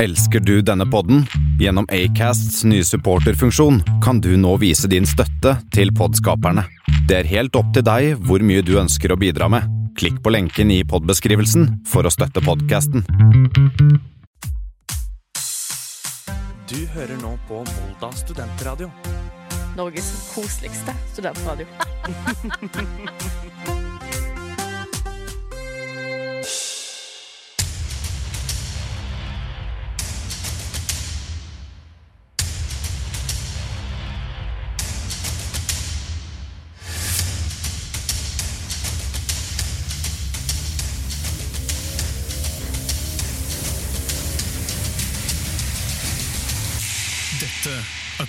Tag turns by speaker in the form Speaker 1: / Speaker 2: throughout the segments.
Speaker 1: Elsker du denne podden? Gjennom Acasts nye supporterfunksjon kan du nå vise din støtte til podskaperne. Det er helt opp til deg hvor mye du ønsker å bidra med. Klikk på lenken i podbeskrivelsen for å støtte podkasten.
Speaker 2: Du hører nå på Molda studentradio.
Speaker 3: Norges koseligste studentradio.
Speaker 4: Dette er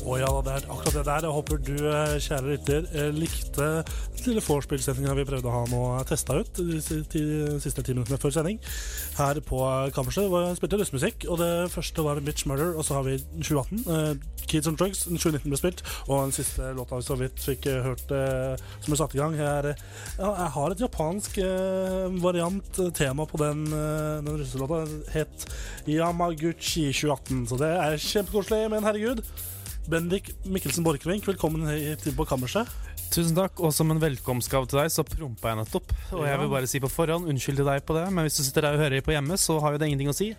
Speaker 5: Å ja, det er akkurat det der. Jeg håper du, eh, kjære lytter, eh, likte lille vorspiel-sendinga vi prøvde å ha nå, testa ut de si- ti- siste ti minuttene før sending. Her på kammerset hvor jeg spilte russmusikk, og det første var Mitch Murder, og så har vi 2018. eh, Kids on Drugs, 2019 ble spilt, og den siste låta vi så vidt fikk eh, hørt eh, som ble satt i gang, er eh, ja, Jeg har et japansk eh, variant eh, tema på den, eh, den russelåta. Het Yamaguchi 2018, så det er kjempekoselig, men herregud. Bendik Mikkelsen Borchgrevink, velkommen hit på kammerset.
Speaker 6: Tusen takk, og som en velkomstgave til deg, så prompa jeg nettopp. Og jeg vil bare si på forhånd, unnskyld til deg på det, men hvis du sitter der og hører på hjemme, så har jo det ingenting å si.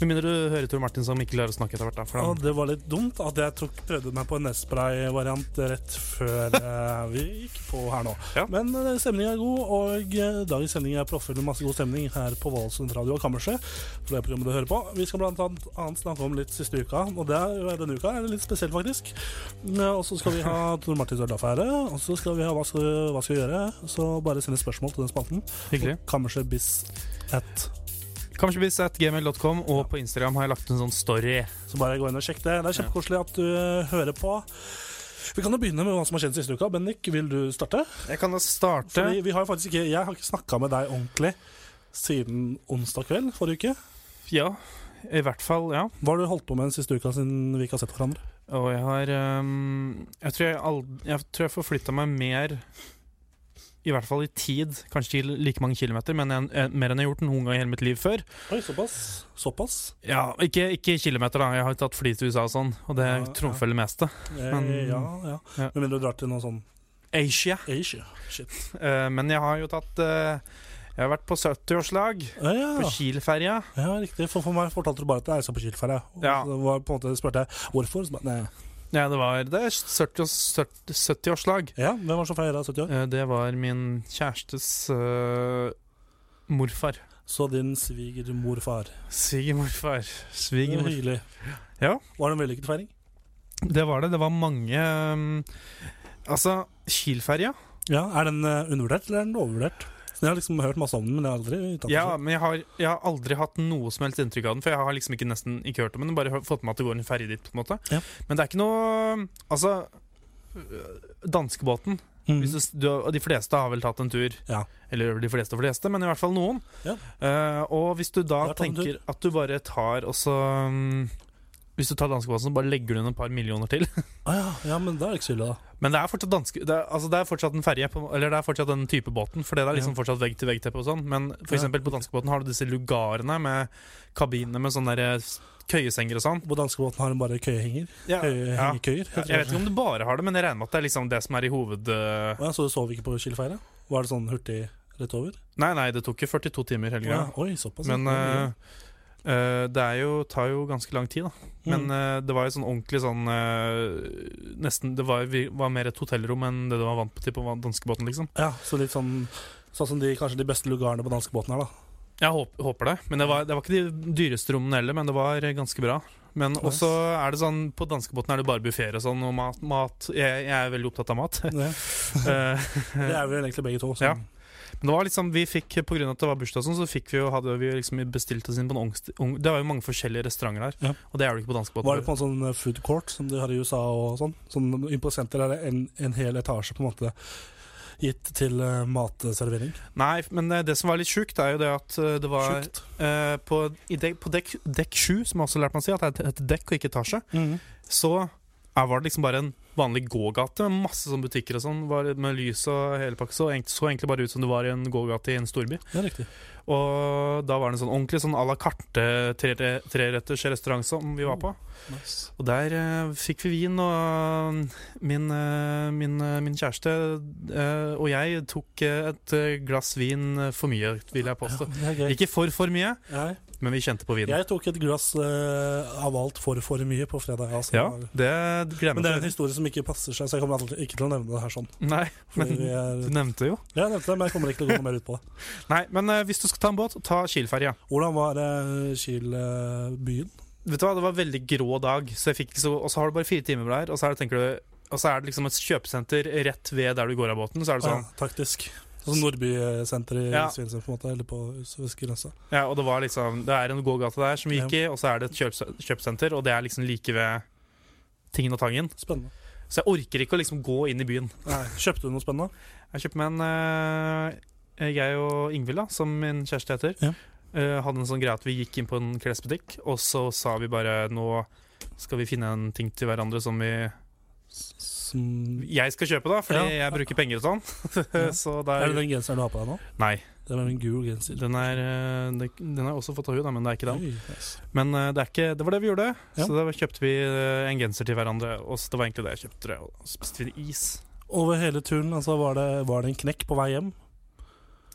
Speaker 6: Med mindre du hører Tor Martin som ikke klarer å snakke etter hvert, da. For
Speaker 5: Og
Speaker 6: han,
Speaker 5: det var litt dumt at jeg tok, prøvde meg på en Nespray-variant rett før eh, vi gikk på her nå.
Speaker 6: Ja.
Speaker 5: Men uh, stemninga er god, og eh, dagens sending er proffer med masse god stemning her på Valsund Radio og Kammerset. For det programmet du hører på. Vi skal blant annet, annet snakke om litt siste uka, og det er, denne uka er det litt spesielt, faktisk. Eh, og så skal vi ha Tor Martins Ølaffære, og så skal vi ha Hva skal, hva skal vi gjøre? Så bare send et spørsmål til den spalten.
Speaker 6: hyggelig.
Speaker 5: Kammersetbiss at
Speaker 6: Kammersetbiz.gmail.com, og på Instagram har jeg lagt en sånn story.
Speaker 5: Så bare gå inn og sjekk det. Det er kjempekoselig at du eh, hører på. Vi kan jo begynne med hva som har skjedd siste uka. Bendik, vil du starte?
Speaker 6: Jeg kan da starte
Speaker 5: Fordi vi har jo faktisk ikke, jeg har ikke snakka med deg ordentlig siden onsdag kveld forrige uke.
Speaker 6: Ja. I hvert fall, ja.
Speaker 5: Hva har du holdt på med den siste uka siden vi ikke har sett hverandre?
Speaker 6: Og jeg har ehm, Jeg tror jeg, ald- jeg, tror jeg forflytta meg mer i hvert fall i tid, kanskje til like mange kilometer, men jeg, eh, mer enn jeg har gjort noen gang i hele mitt liv før.
Speaker 5: Oi, såpass? Såpass?
Speaker 6: Ja, ikke, ikke kilometer, da. Jeg har tatt fly til USA og sånn, og det
Speaker 5: Ja,
Speaker 6: trumfer det meste.
Speaker 5: Eh,
Speaker 6: Men-
Speaker 5: ja, ja.
Speaker 6: ja.
Speaker 5: Med mindre du drar til noe sånn
Speaker 6: Asia.
Speaker 5: Asia. Shit.
Speaker 6: Eh, men jeg har jo tatt eh, Jeg har vært på 70-årslag,
Speaker 5: Ja, Eh, ja.
Speaker 6: på Kiel-ferja.
Speaker 5: ja, riktig. For, for meg fortalte du bare at det er så på Kielferja.
Speaker 6: Ja.
Speaker 5: Så det var på en måte spurte jeg hvorfor. Så bare, nei.
Speaker 6: Ja, det var det er 70 70 70-årslag.
Speaker 5: Ja, hvem var det som feira 70 år?
Speaker 6: Eh, det var min kjærestes eh, morfar.
Speaker 5: Så din svigermorfar.
Speaker 6: Svigermorfar.
Speaker 5: Det var
Speaker 6: Svigermor.
Speaker 5: Hyggelig.
Speaker 6: Ja.
Speaker 5: Var det en vellykket feiring?
Speaker 6: Det var det. Det var mange mm, Altså, Kiel-ferja
Speaker 5: Ja, Er den eh, undervurdert eller er den overvurdert? Så Jeg har liksom hørt masse om den, men jeg har aldri tatt
Speaker 6: Ja,
Speaker 5: den.
Speaker 6: men jeg har, jeg har aldri hatt noe som helst inntrykk av den. For jeg har liksom ikke nesten ikke hørt om den, bare hø- fått med at det går en ferje dit. på en måte
Speaker 5: Ja.
Speaker 6: Men det er ikke noe Altså, øh, danskebåten
Speaker 5: Mm.
Speaker 6: hvis du, s- du, har- De fleste har vel tatt en tur.
Speaker 5: Ja.
Speaker 6: Eller de fleste og fleste, men i hvert fall noen.
Speaker 5: Ja.
Speaker 6: Eh, og hvis du da
Speaker 5: Jeg har tatt en
Speaker 6: tenker at du bare tar og så mm, Hvis du tar danskebåten, så bare legger du inn et par millioner til.
Speaker 5: Ah, ja, ja, men det er ikke så ille, da.
Speaker 6: Men det er fortsatt danske det er, altså det er fortsatt en ferje, på- eller det er fortsatt den type båten. For det er liksom fortsatt vegg-til-vegg-teppe og sånn. Men for
Speaker 5: Ja.
Speaker 6: eksempel på danskebåten har du disse lugarene med kabiner med sånne der køyesenger og sånn.
Speaker 5: På danskebåten har den bare køyehenger.
Speaker 6: Ja. Ja.
Speaker 5: Køyehengekøyer.
Speaker 6: Jeg vet ikke om du bare har det, men jeg regner med at det er liksom det som er i hoved... øh,
Speaker 5: Ja, så du sov ikke på Kilefeira? Var det sånn hurtig rett over?
Speaker 6: Nei, nei, det tok jo 42 timer hele greia.
Speaker 5: Ja, Oi, såpass. ja.
Speaker 6: Men øh, øh, det er jo, tar jo ganske lang tid, da. Men
Speaker 5: Mm.
Speaker 6: øh, det var jo sånn ordentlig sånn øh, Nesten Det var, vi var mer et hotellrom enn det du var vant til på danskebåten, liksom.
Speaker 5: Ja, så litt sånn Sånn som de, kanskje de beste lugarene på danskebåten her, da.
Speaker 6: Jeg håper, håper det. Men det var, det var ikke de dyreste rommene heller, men det var ganske bra. Men
Speaker 5: Nice.
Speaker 6: også er det sånn, på danskebåten er det bare buffeer og sånn, og mat. mat. Jeg, jeg er veldig opptatt av mat.
Speaker 5: Det,
Speaker 6: Eh,
Speaker 5: det er vel egentlig begge to. Så.
Speaker 6: Ja. men det var liksom, vi fikk, på grunn av at det var bursdag og sånn, så fikk vi jo, hadde vi jo liksom bestilt oss inn på en ongst... Ong, det var jo mange forskjellige restauranter der,
Speaker 5: Ja.
Speaker 6: og det er det ikke på danskebåten.
Speaker 5: Var det på en sånn eh, food court som de har i USA og sånn? Sånn inn på senter er det en, en hel etasje på en måte gitt til eh, matservering.
Speaker 6: Nei, men eh, det som var litt sjukt, er jo det at eh, det var
Speaker 5: Sjukt.
Speaker 6: eh, på, i dek, på dekk, Mm. dekk 7, som jeg også lærte meg å si, at det heter dekk og ikke etasje, så er, var det liksom bare en vanlig gågate med masse sånn butikker og sånn, var med lys og hele pakka. Så, egentlig- så egentlig bare ut som du var i en gågate i en storby.
Speaker 5: Det er riktig.
Speaker 6: Og da var det en sånn ordentlig sånn à la carte tre- treretters restaurant som vi var på.
Speaker 5: Nice.
Speaker 6: Og der eh, fikk vi vin, og eh, min, eh, min, eh, min kjæreste eh, og jeg tok eh, et eh, glass vin eh, for mye, vil jeg påstå.
Speaker 5: Det er gøy.
Speaker 6: Ikke for for mye,
Speaker 5: Nei.
Speaker 6: men vi kjente på vinen.
Speaker 5: Jeg tok et glass eh, av alt for for mye på fredag. Altså.
Speaker 6: Ja, det
Speaker 5: Men
Speaker 6: glemte
Speaker 5: det er en
Speaker 6: jeg.
Speaker 5: historie som ikke passer seg, så jeg kommer aldri, ikke til å nevne det her sånn.
Speaker 6: Nei,
Speaker 5: Fordi
Speaker 6: men
Speaker 5: vi er,
Speaker 6: du nevnte jo.
Speaker 5: Ja, jeg nevnte det, men jeg kommer ikke til å gå noe mer ut på det.
Speaker 6: Nei, men eh, hvis du skal ta en båt, ta Kiel-ferja.
Speaker 5: Hvordan var eh, Kiel-byen?
Speaker 6: Vet du hva, det var en veldig grå dag, så jeg fikk ikke så Og så har du bare fire timer der, og så er det, tenker du og så er det liksom et kjøpesenter rett ved der du går av båten. Så er det sånn,
Speaker 5: ja, taktisk. Sånn Nordbysenteret i
Speaker 6: Ja.
Speaker 5: Svinesund, på en måte, eller på svenskegrensa.
Speaker 6: Ja, og det var liksom Det er en gågate der som vi gikk i, og så er det et kjøps- kjøpesenter, og det er liksom like ved tingen og tangen.
Speaker 5: Spennende.
Speaker 6: Så jeg orker ikke å liksom gå inn i byen.
Speaker 5: Nei, kjøpte du noe spennende?
Speaker 6: Jeg kjøpte meg en eh, Jeg og Ingvild, da, som min kjæreste heter,
Speaker 5: Ja.
Speaker 6: eh, hadde en sånn greie at vi gikk inn på en klesbutikk, og så sa vi bare nå skal vi finne en ting til hverandre som vi
Speaker 5: Som,
Speaker 6: Jeg skal kjøpe, da, fordi
Speaker 5: Ja.
Speaker 6: jeg bruker penger og sånn.
Speaker 5: Ja.
Speaker 6: så
Speaker 5: er det
Speaker 6: der
Speaker 5: den genseren du har på deg nå?
Speaker 6: Nei.
Speaker 5: Det var en gul genser.
Speaker 6: Den er, eh, det- den har jeg også fått av henne, da, men det er ikke den.
Speaker 5: Oi, nice.
Speaker 6: Men eh, det, er ikke, det var det vi gjorde.
Speaker 5: Ja.
Speaker 6: Så da kjøpte vi eh, en genser til hverandre. Og så det var egentlig det jeg kjøpte. det, Og så spiste vi is.
Speaker 5: Over hele turen altså, var, det, var det en knekk på vei hjem?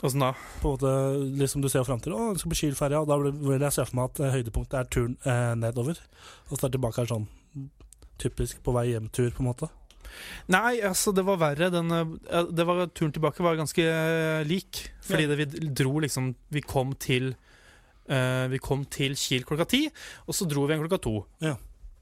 Speaker 6: Åssen da?
Speaker 5: på en måte, liksom du ser frem til Å, jeg skal på Kielferja, og da blir- vil jeg se for meg at eh, høydepunktet er turen eh, nedover. Og så er det tilbake her sånn typisk på vei hjem-tur, på en måte.
Speaker 6: Nei, altså, det var verre. Den, eh, det var, turen tilbake var ganske eh, lik. Fordi det, vi dro liksom Vi kom til eh, Vi kom til Kiel klokka ti, og så dro vi igjen klokka to.
Speaker 5: Ja.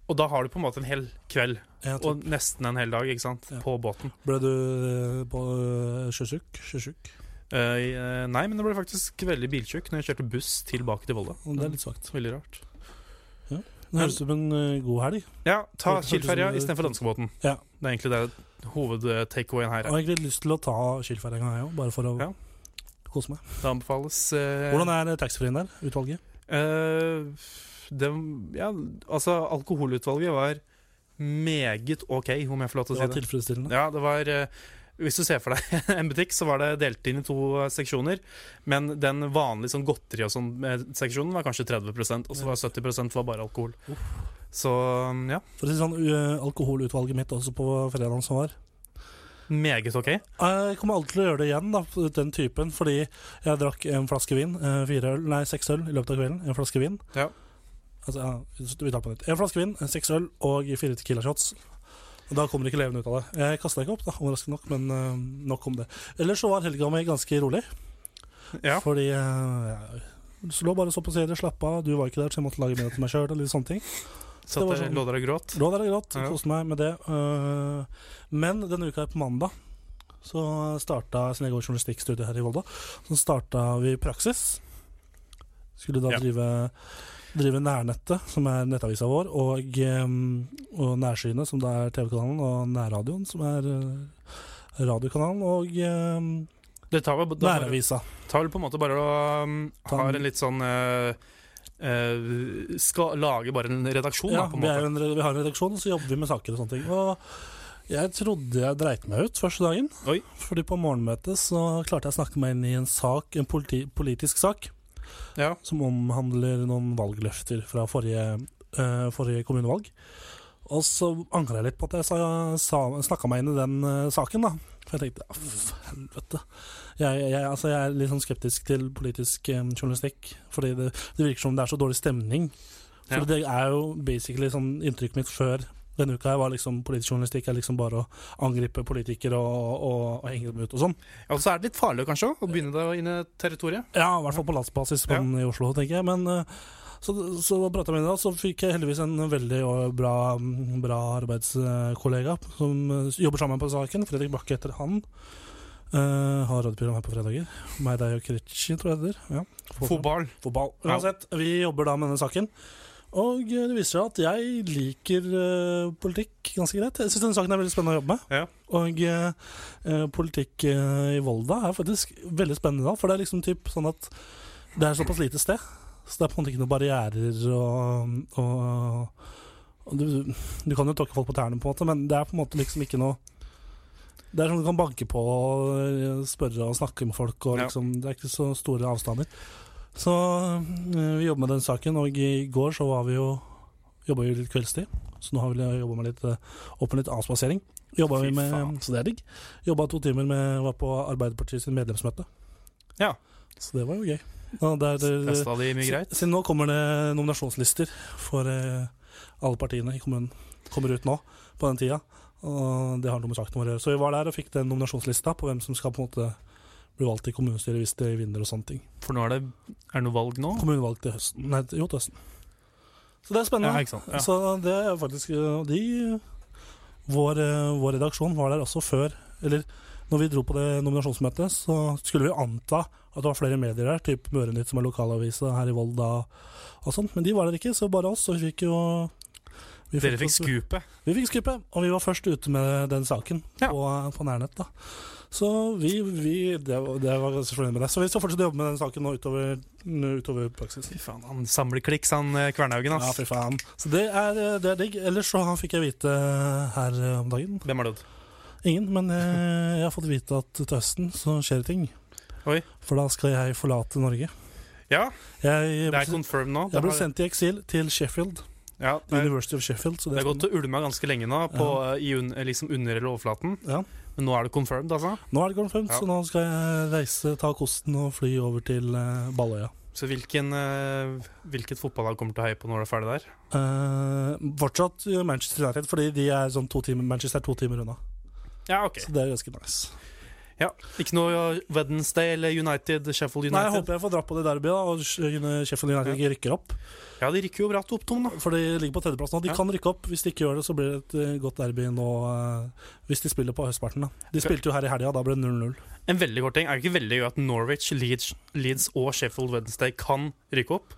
Speaker 6: Og da har du på en måte en hel kveld,
Speaker 5: Jeg tror-
Speaker 6: og nesten en hel dag, ikke sant,
Speaker 5: Ja.
Speaker 6: på båten.
Speaker 5: Ble du eh, på eh, sjøsjuk? Sjøsjuk?
Speaker 6: Eh, eh, nei, men det ble faktisk veldig biltjukk når jeg kjørte buss tilbake til Volda.
Speaker 5: Og Det er litt svakt.
Speaker 6: Veldig rart.
Speaker 5: Det høres ut som en eh, god helg.
Speaker 6: Ja,
Speaker 5: Det
Speaker 6: ta
Speaker 5: hørtes ut som
Speaker 6: Kiel-ferja
Speaker 5: det-
Speaker 6: istedenfor danskebåten.
Speaker 5: Ja.
Speaker 6: Det er egentlig det hoved-takeawayen her.
Speaker 5: Jeg
Speaker 6: er.
Speaker 5: har egentlig lyst til å ta Kielferja en gang, jeg òg, bare for å
Speaker 6: Ja.
Speaker 5: kose meg.
Speaker 6: Det anbefales. eh,
Speaker 5: Hvordan er eh, taxfree-en der? Utvalget?
Speaker 6: eh, det, ja, altså, alkoholutvalget var meget OK, om jeg får lov til
Speaker 5: Det
Speaker 6: å si
Speaker 5: var
Speaker 6: det.
Speaker 5: tilfredsstillende.
Speaker 6: Ja, det var eh, Hvis du ser for deg en butikk, så var det delt inn i to eh, seksjoner. Men den vanlige sånn godteri og sånn eh, seksjonen var kanskje 30 og så var 70 var bare alkohol.
Speaker 5: Uff.
Speaker 6: Så mm, ja,
Speaker 5: For å si det sånn, u- alkoholutvalget mitt også på fredagen som var,
Speaker 6: meget OK.
Speaker 5: Jeg kommer aldri til å gjøre det igjen, da, den typen. Fordi jeg drakk en flaske vin, eh, fire øl, nei, seks øl i løpet av kvelden. En flaske vin.
Speaker 6: Ja.
Speaker 5: Altså, ja, vi tar på nytt. En flaske vin, seks øl og fire Tequila shots. Og Da kommer du ikke levende ut av det. Jeg kasta ikke opp, da, overraskende nok, men eh, nok om det. Ellers så var helga mi ganske rolig,
Speaker 6: Ja.
Speaker 5: fordi eh, jeg lå bare og så på serie, slappa av. Du var ikke der, så jeg måtte lage middag til meg sjøl. Litt sånne ting.
Speaker 6: Så
Speaker 5: var
Speaker 6: at jeg
Speaker 5: sånn-
Speaker 6: lå der og gråt.
Speaker 5: Lå der og gråt,
Speaker 6: Ja.
Speaker 5: koste meg med det. øh, Men denne uka her på mandag så starta siden jeg går journalistikkstudiet her i Volda, så starta vi praksis. Skulle da
Speaker 6: Ja.
Speaker 5: drive, drive Nærnettet, som er nettavisa vår, og, øhm, og Nærsynet, som da er TV-kanalen, og Nærradioen, som er øh, radiokanalen, og øhm,
Speaker 6: Det tar vel, da-
Speaker 5: Næravisa.
Speaker 6: Ta vel på en måte bare og um,
Speaker 5: Ta
Speaker 6: har
Speaker 5: en-
Speaker 6: en litt sånn eh, eh, skal lage bare en redaksjon,
Speaker 5: Ja,
Speaker 6: da, på en
Speaker 5: vi, er
Speaker 6: måte.
Speaker 5: jo en, re- vi har en redaksjon, og så jobber vi med saker og sånne ting. Og jeg trodde jeg dreit meg ut første dagen.
Speaker 6: Oi.
Speaker 5: Fordi på morgenmøtet så klarte jeg å snakke meg inn i en sak, en politi, politisk sak,
Speaker 6: Ja.
Speaker 5: som omhandler noen valgløfter fra forrige, eh, forrige kommunevalg. Og så angra jeg litt på at jeg sa, sa, snakka meg inn i den eh, saken, da. For jeg tenkte "Ah, f- helvete. Jeg, jeg, altså, jeg er litt sånn skeptisk til politisk eh, journalistikk. Fordi det, det virker som det er så dårlig stemning. For
Speaker 6: Ja.
Speaker 5: det er jo basically sånn inntrykket mitt før denne uka her var liksom politisk journalistikk er liksom bare å angripe politikere og, og, og henge dem ut og sånn.
Speaker 6: Og så er det litt farlig kanskje å begynne der inn i territoriet.
Speaker 5: Ja, i hvert fall på landsbasis på
Speaker 6: Ja.
Speaker 5: den i Oslo, tenker jeg. Men eh, så, så prata jeg med henne, og så fikk jeg heldigvis en veldig eh, bra, bra arbeidskollega som eh, jobber sammen på saken. Fredrik Bakke heter han. Eh, har radioprogram her på fredager. Meg, deg og Kretschi, tror jeg det heter. Ja.
Speaker 6: Fotball.
Speaker 5: Fotball.
Speaker 6: Ja.
Speaker 5: Uansett, vi jobber da med denne saken. Og eh, det viser seg at jeg liker eh, politikk ganske greit. Jeg syns denne saken er veldig spennende å jobbe med.
Speaker 6: Ja.
Speaker 5: Og eh, eh, politikk eh, i Volda er faktisk veldig spennende, da, for det er liksom typ sånn at det er såpass lite sted. Så det er på en måte ikke noen barrierer og, og, Og Du, du kan jo tråkke folk på tærne, på en måte, men det er på en måte liksom ikke noe Det er sånn du kan banke på og spørre og snakke med folk, og
Speaker 6: Ja.
Speaker 5: liksom, det er ikke så store avstander. Så øh, vi jobber med den saken, og i går så var vi jo Jobba jo litt kveldstid, så nå har vi jobba med litt øh, opp med litt avspasering. Jobba
Speaker 6: Fy
Speaker 5: vi med,
Speaker 6: faen.
Speaker 5: så det er digg. Jobba to timer med Var på Arbeiderpartiet sin medlemsmøte.
Speaker 6: Ja.
Speaker 5: Så det var jo gøy. Og der, øh,
Speaker 6: Testa de mye greit?
Speaker 5: så, så nå kommer det nominasjonslister for eh, alle partiene i kommunen. Kommer ut nå på den tida. Og det har noe med saken vår å gjøre. Så vi var der og fikk den nominasjonslista på hvem som skal på en måte bli valgt til kommunestyret hvis de vinner og sånne ting.
Speaker 6: For nå er det Er det noe valg nå?
Speaker 5: Kommunevalg til høsten. Nei, jo, til høsten. Så det er
Speaker 6: Ja,
Speaker 5: spennende.
Speaker 6: ikke sant? Ja.
Speaker 5: Så det er faktisk eh, og de vår, eh, vår redaksjon var der også før Eller når vi dro på det nominasjonsmøtet, så skulle vi anta at det var flere medier der, typ Mørenytt, som er lokalavisa her i Volda og sånt, men de var der ikke, så bare oss. Så vi fikk jo vi
Speaker 6: Dere fikk skupet?
Speaker 5: Vi fikk skupe, og vi var først ute med den saken
Speaker 6: Ja.
Speaker 5: på, på nærnett. da Så vi, vi det, var- det var ganske fornøyd med det. Så vi skal fortsette å jobbe med den saken nå utover, utover praksis.
Speaker 6: Fy faen, han samler kliks, han eh, Kvernhaugen,
Speaker 5: Ja,
Speaker 6: ass.
Speaker 5: fy faen. Så det er, eh, det er digg. Ellers så fikk jeg vite eh, her om dagen
Speaker 6: Hvem er død?
Speaker 5: Ingen, men eh, jeg har fått vite at til høsten så skjer det ting.
Speaker 6: Oi.
Speaker 5: For da skal jeg forlate Norge.
Speaker 6: Ja,
Speaker 5: Jeg
Speaker 6: det er
Speaker 5: ble,
Speaker 6: confirmed nå. Det
Speaker 5: jeg ble
Speaker 6: har-
Speaker 5: sendt i eksil til Sheffield.
Speaker 6: Ja, det er-
Speaker 5: University of Sheffield. Så
Speaker 6: det
Speaker 5: det, sånn,
Speaker 6: har gått og ulma ganske lenge nå, på, i un, liksom under eller overflaten.
Speaker 5: Ja.
Speaker 6: Men nå er det confirmed, altså.
Speaker 5: Nå er det confirmed,
Speaker 6: Ja.
Speaker 5: så nå skal jeg reise, ta kosten og fly over til eh, Balløya.
Speaker 6: Så hvilken, eh, hvilket fotballag kommer til å heie på når det er ferdig der?
Speaker 5: Eh, fortsatt Manchester United, fordi de er sånn to timer, Manchester er to timer unna.
Speaker 6: Ja, ok.
Speaker 5: Så det er ganske nice.
Speaker 6: Ja. Ikke noe Wednesday eller United, Sheffield
Speaker 5: Nei, Jeg
Speaker 6: United?
Speaker 5: håper jeg får dra på det derbyet, da, og Sheffield United ikke rykker opp.
Speaker 6: ja, de rykker jo bratt opp, Tom, da.
Speaker 5: For de ligger på tredjeplass nå. De
Speaker 6: Ja.
Speaker 5: kan rykke opp. Hvis de ikke gjør det, så blir det et eh, godt derby nå eh, hvis de spiller på høstparten. Da. De spilte jo her i helga, da ble det 0-0.
Speaker 6: En veldig kort ting. Er det ikke veldig gøy at Norwich, Leeds, Leeds og Sheffield Wednesday kan rykke opp?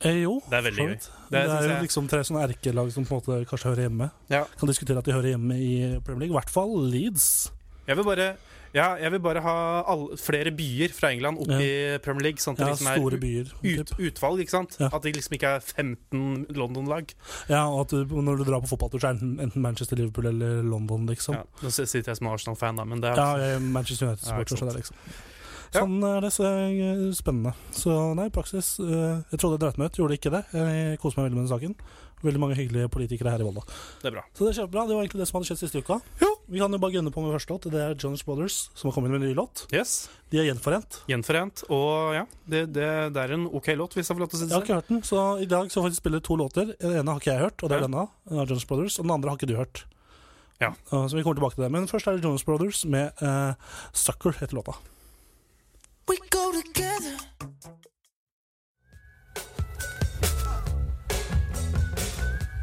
Speaker 5: Eh, jo.
Speaker 6: Det er veldig
Speaker 5: for så
Speaker 6: gøy.
Speaker 5: vidt.
Speaker 6: Det
Speaker 5: Det
Speaker 6: synes
Speaker 5: er jo
Speaker 6: jeg-
Speaker 5: liksom tre sånne erkelag som på en måte kanskje hører hjemme.
Speaker 6: Ja.
Speaker 5: Kan diskutere at de hører hjemme i Premier League. I hvert fall Leeds.
Speaker 6: Jeg vil bare, ja, jeg vil bare ha all, flere byer fra England opp
Speaker 5: Ja.
Speaker 6: i Premier League. Sånn at det
Speaker 5: Ja,
Speaker 6: liksom er
Speaker 5: store byer.
Speaker 6: ut,
Speaker 5: typ.
Speaker 6: utvalg, ikke sant?
Speaker 5: Ja.
Speaker 6: At det liksom ikke er 15 London-lag.
Speaker 5: Ja, og at du, når du drar på fotballtur, så er det enten- enten Manchester, Liverpool eller London, liksom.
Speaker 6: Ja. Nå sitter jeg som Arsenal-fan, da, men det er
Speaker 5: Ja, jeg er Manchester
Speaker 6: Ja, ikke
Speaker 5: United-supporter, så
Speaker 6: sant.
Speaker 5: det er liksom
Speaker 6: Ja.
Speaker 5: Sånn er det så eh, spennende. Så nei, i praksis eh, Jeg trodde jeg dreit meg ut, gjorde ikke det. Jeg koser meg veldig med den saken. Veldig mange hyggelige politikere her i Volda.
Speaker 6: Det er bra.
Speaker 5: Så det er kjempebra. Det var egentlig det som hadde skjedd siste uka. Vi kan jo bare gunne på med første låt. Det er Jonas Brothers som har kommet med en ny låt.
Speaker 6: Yes.
Speaker 5: De er gjenforent.
Speaker 6: Gjenforent. Og ja, det, det, det er en OK låt, hvis jeg får lov til å
Speaker 5: Jeg
Speaker 6: si det sånn.
Speaker 5: har
Speaker 6: selv.
Speaker 5: ikke hørt den, så i dag så får de spille to låter. Den ene har ikke jeg hørt, og det er
Speaker 6: Ja.
Speaker 5: denne. Den er Jonas Brothers, Og den andre har ikke du hørt.
Speaker 6: Ja.
Speaker 5: Uh, Så vi kommer tilbake til det. Men først er det Jonas Brothers med eh, 'Sucker' heter låta.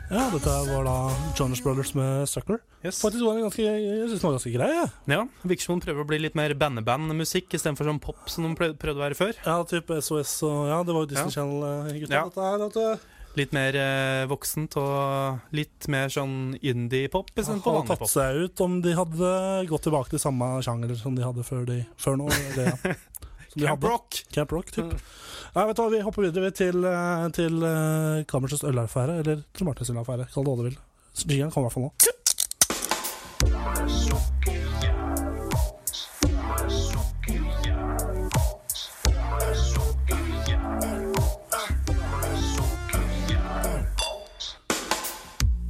Speaker 5: Ja, dette var da Jonas Brothers med 'Sucker'.
Speaker 6: Yes.
Speaker 5: Faktisk var den ganske, jeg synes den var ganske grei. jeg.
Speaker 6: Ja, Viksjon prøver å bli litt mer bandeband-musikk istedenfor sånn pop som de prøv- prøvde å være før.
Speaker 5: Ja, type SOS og Ja, det var jo Disney
Speaker 6: Ja.
Speaker 5: Channel-gutta.
Speaker 6: Ja.
Speaker 5: Dette her, vet du.
Speaker 6: Litt mer eh, voksent og litt mer sånn indie-pop istedenfor
Speaker 5: Hadde
Speaker 6: vanlig
Speaker 5: tatt
Speaker 6: pop.
Speaker 5: seg ut om de hadde gått tilbake til samme sjanger som de hadde før, de, før nå. Eller, ja. Som de
Speaker 6: Camp
Speaker 5: hadde.
Speaker 6: Rock!
Speaker 5: Camp Rock, typ. Nei, vet du hva, vi hopper videre vi, til, eh, til eh, Kammersens ølaffære, eller Trond Martins ølaffære, kall det hva du vil. Jingeren kommer i hvert fall nå.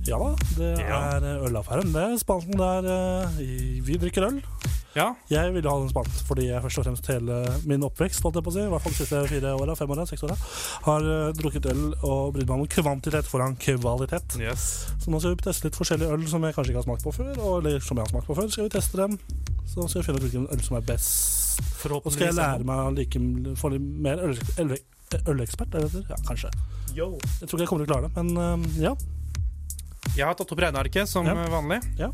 Speaker 5: Ja da, det
Speaker 6: Ja.
Speaker 5: er eh, ølaffæren. Det er spalten der eh, i- vi drikker øl.
Speaker 6: Ja,
Speaker 5: Jeg ville ha den spalten fordi jeg først og fremst hele min oppvekst, holdt jeg på å si, i hvert fall de siste fire åra, fem åra, seks åra, har eh, drukket øl og brydd meg om kvantitet foran kvalitet.
Speaker 6: yes.
Speaker 5: Så nå skal vi teste litt forskjellige øl som jeg kanskje ikke har smakt på før, og, eller som jeg har smakt på før. Skal vi teste dem, så skal vi finne ut hvilken øl som er best. Og skal jeg lære meg å like, få litt mer øl, øl, ølekspert, er det det? heter? Ja, kanskje.
Speaker 6: Yo.
Speaker 5: Jeg tror ikke jeg kommer til å klare det, men eh, ja.
Speaker 6: Jeg har tatt opp regnearket som
Speaker 5: Ja.
Speaker 6: eh, vanlig.
Speaker 5: Ja.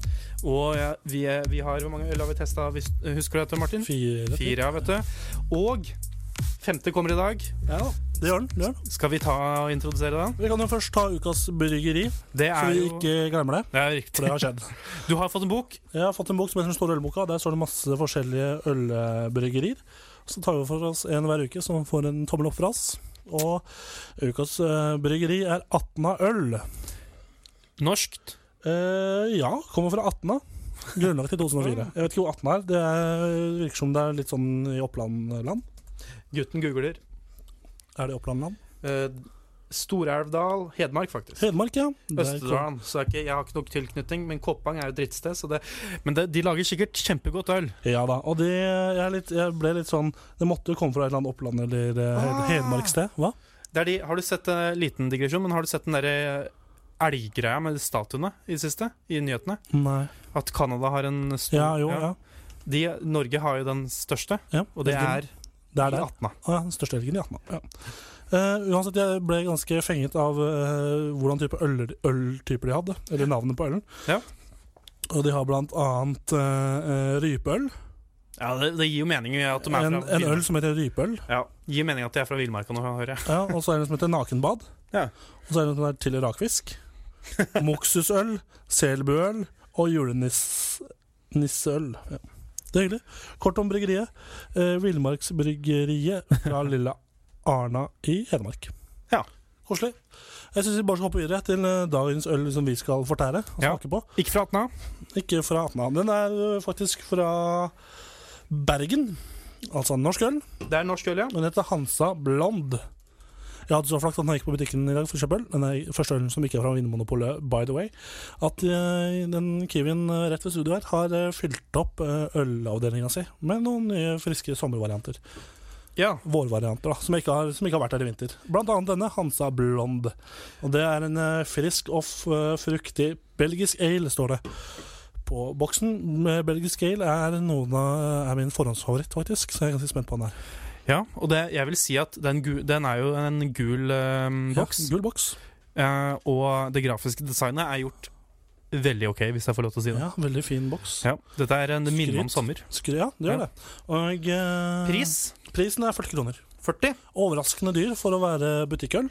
Speaker 6: Og jeg- vi, er- vi har hvor mange øl har vi testa? Husker du dette, Martin?
Speaker 5: Fire.
Speaker 6: Fire, ja, vet du. Og femte kommer i dag.
Speaker 5: Ja, det gjør den. Det gjør den.
Speaker 6: Skal vi ta og introdusere den?
Speaker 5: Vi kan jo først ta ukas bryggeri,
Speaker 6: Det
Speaker 5: så
Speaker 6: er
Speaker 5: vi
Speaker 6: jo
Speaker 5: ikke glemmer det.
Speaker 6: Det
Speaker 5: For
Speaker 6: er
Speaker 5: det
Speaker 6: riktig.
Speaker 5: har skjedd.
Speaker 6: Du har fått en bok.
Speaker 5: Jeg har fått en bok som heter Den store ølboka. Der står det masse forskjellige ølbryggerier. Så tar vi for oss en hver uke som får en tommel opp fra oss. Og ukas eh, bryggeri er Atna øl.
Speaker 6: Norskt.
Speaker 5: Eh, ja, kommer fra Atna. Grunnlagt i 2004. Jeg vet ikke hvor Atna er. Det er, eh, virker som det er litt sånn i Oppland-land.
Speaker 6: Gutten googler.
Speaker 5: Er det Oppland-land?
Speaker 6: Eh, Stor-Elvdal, Hedmark, faktisk.
Speaker 5: Hedmark, ja. Det er kom-
Speaker 6: Østerdalen. Så er ikke, jeg har ikke nok tilknytning, men Koppang er jo et drittsted. Så det, men det, de lager sikkert kjempegodt øl.
Speaker 5: Ja da. Og det, jeg, er litt, jeg ble litt sånn Det måtte jo komme fra et eller annet Oppland eller eh, Hed-
Speaker 6: Ah.
Speaker 5: Hedmarkssted. Hva?
Speaker 6: Det er de, har du sett en liten digresjon, men har du sett den derre eh, elggreia med statuene i det siste? I nyhetene?
Speaker 5: Nei.
Speaker 6: At Canada har en stor
Speaker 5: Ja, jo, ja.
Speaker 6: De, Norge har jo den største,
Speaker 5: ja.
Speaker 6: og det er
Speaker 5: Det er
Speaker 6: i
Speaker 5: der.
Speaker 6: Atna.
Speaker 5: Å ja, den største helgen i 18. Ja. Eh, uansett, jeg ble ganske fenget av eh, hvordan type øl- øltyper de hadde. Eller navnet på ølen.
Speaker 6: Ja.
Speaker 5: Og de har blant annet eh, eh, rypeøl.
Speaker 6: Ja, det, det gir jo mening at de er
Speaker 5: En,
Speaker 6: fra
Speaker 5: en øl som heter rypeøl.
Speaker 6: Ja, gir mening at de er fra villmarka nå, hører jeg.
Speaker 5: Ja, og så er det en som heter nakenbad.
Speaker 6: Ja.
Speaker 5: Og så er det en som heter til rakfisk. Moksusøl, selbuøl og julenisseøl. Ja. Det er hyggelig. Kort om bryggeriet. Eh, Villmarksbryggeriet fra lille Arna i Hedmark.
Speaker 6: Ja.
Speaker 5: Koselig. Jeg syns vi bare skal hoppe videre til eh, dagens øl som vi skal fortære og
Speaker 6: Ja.
Speaker 5: smake på.
Speaker 6: Ikke fra Atna.
Speaker 5: Ikke fra Atna. Den er eh, faktisk fra Bergen. Altså norsk øl.
Speaker 6: Det er norsk øl, ja.
Speaker 5: Den heter Hansa Blond. Jeg hadde så flaks at den gikk på butikken i dag for å kjøpe øl. Den er første ølen som ikke er fra Vinmonopolet, by the way. At eh, den Kiwien eh, rett ved studio her har eh, fylt opp eh, ølavdelinga si med noen nye friske sommervarianter.
Speaker 6: ja.
Speaker 5: Vårvarianter, da, som ikke, har, som ikke har vært her i vinter. Blant annet denne, Hansa Blond. Og det er en eh, frisk og f- eh, fruktig belgisk ale, står det. På boksen med belgisk ale er noen av er min forhåndsfavoritt, faktisk. Så jeg er ganske spent på den her.
Speaker 6: ja. Og det, jeg vil si at den, gu, den er jo en gul eh, boks.
Speaker 5: Ja, gul boks.
Speaker 6: Eh, og det grafiske designet er gjort veldig ok, hvis jeg får lov til å si det.
Speaker 5: Ja, veldig fin boks.
Speaker 6: Ja, Dette er en minne om
Speaker 5: Skryt.
Speaker 6: sommer.
Speaker 5: Skry, ja, det gjør
Speaker 6: Ja.
Speaker 5: det. Og eh,
Speaker 6: Pris
Speaker 5: Prisen er 40 kroner.
Speaker 6: 40.
Speaker 5: Overraskende dyr for å være butikkøl.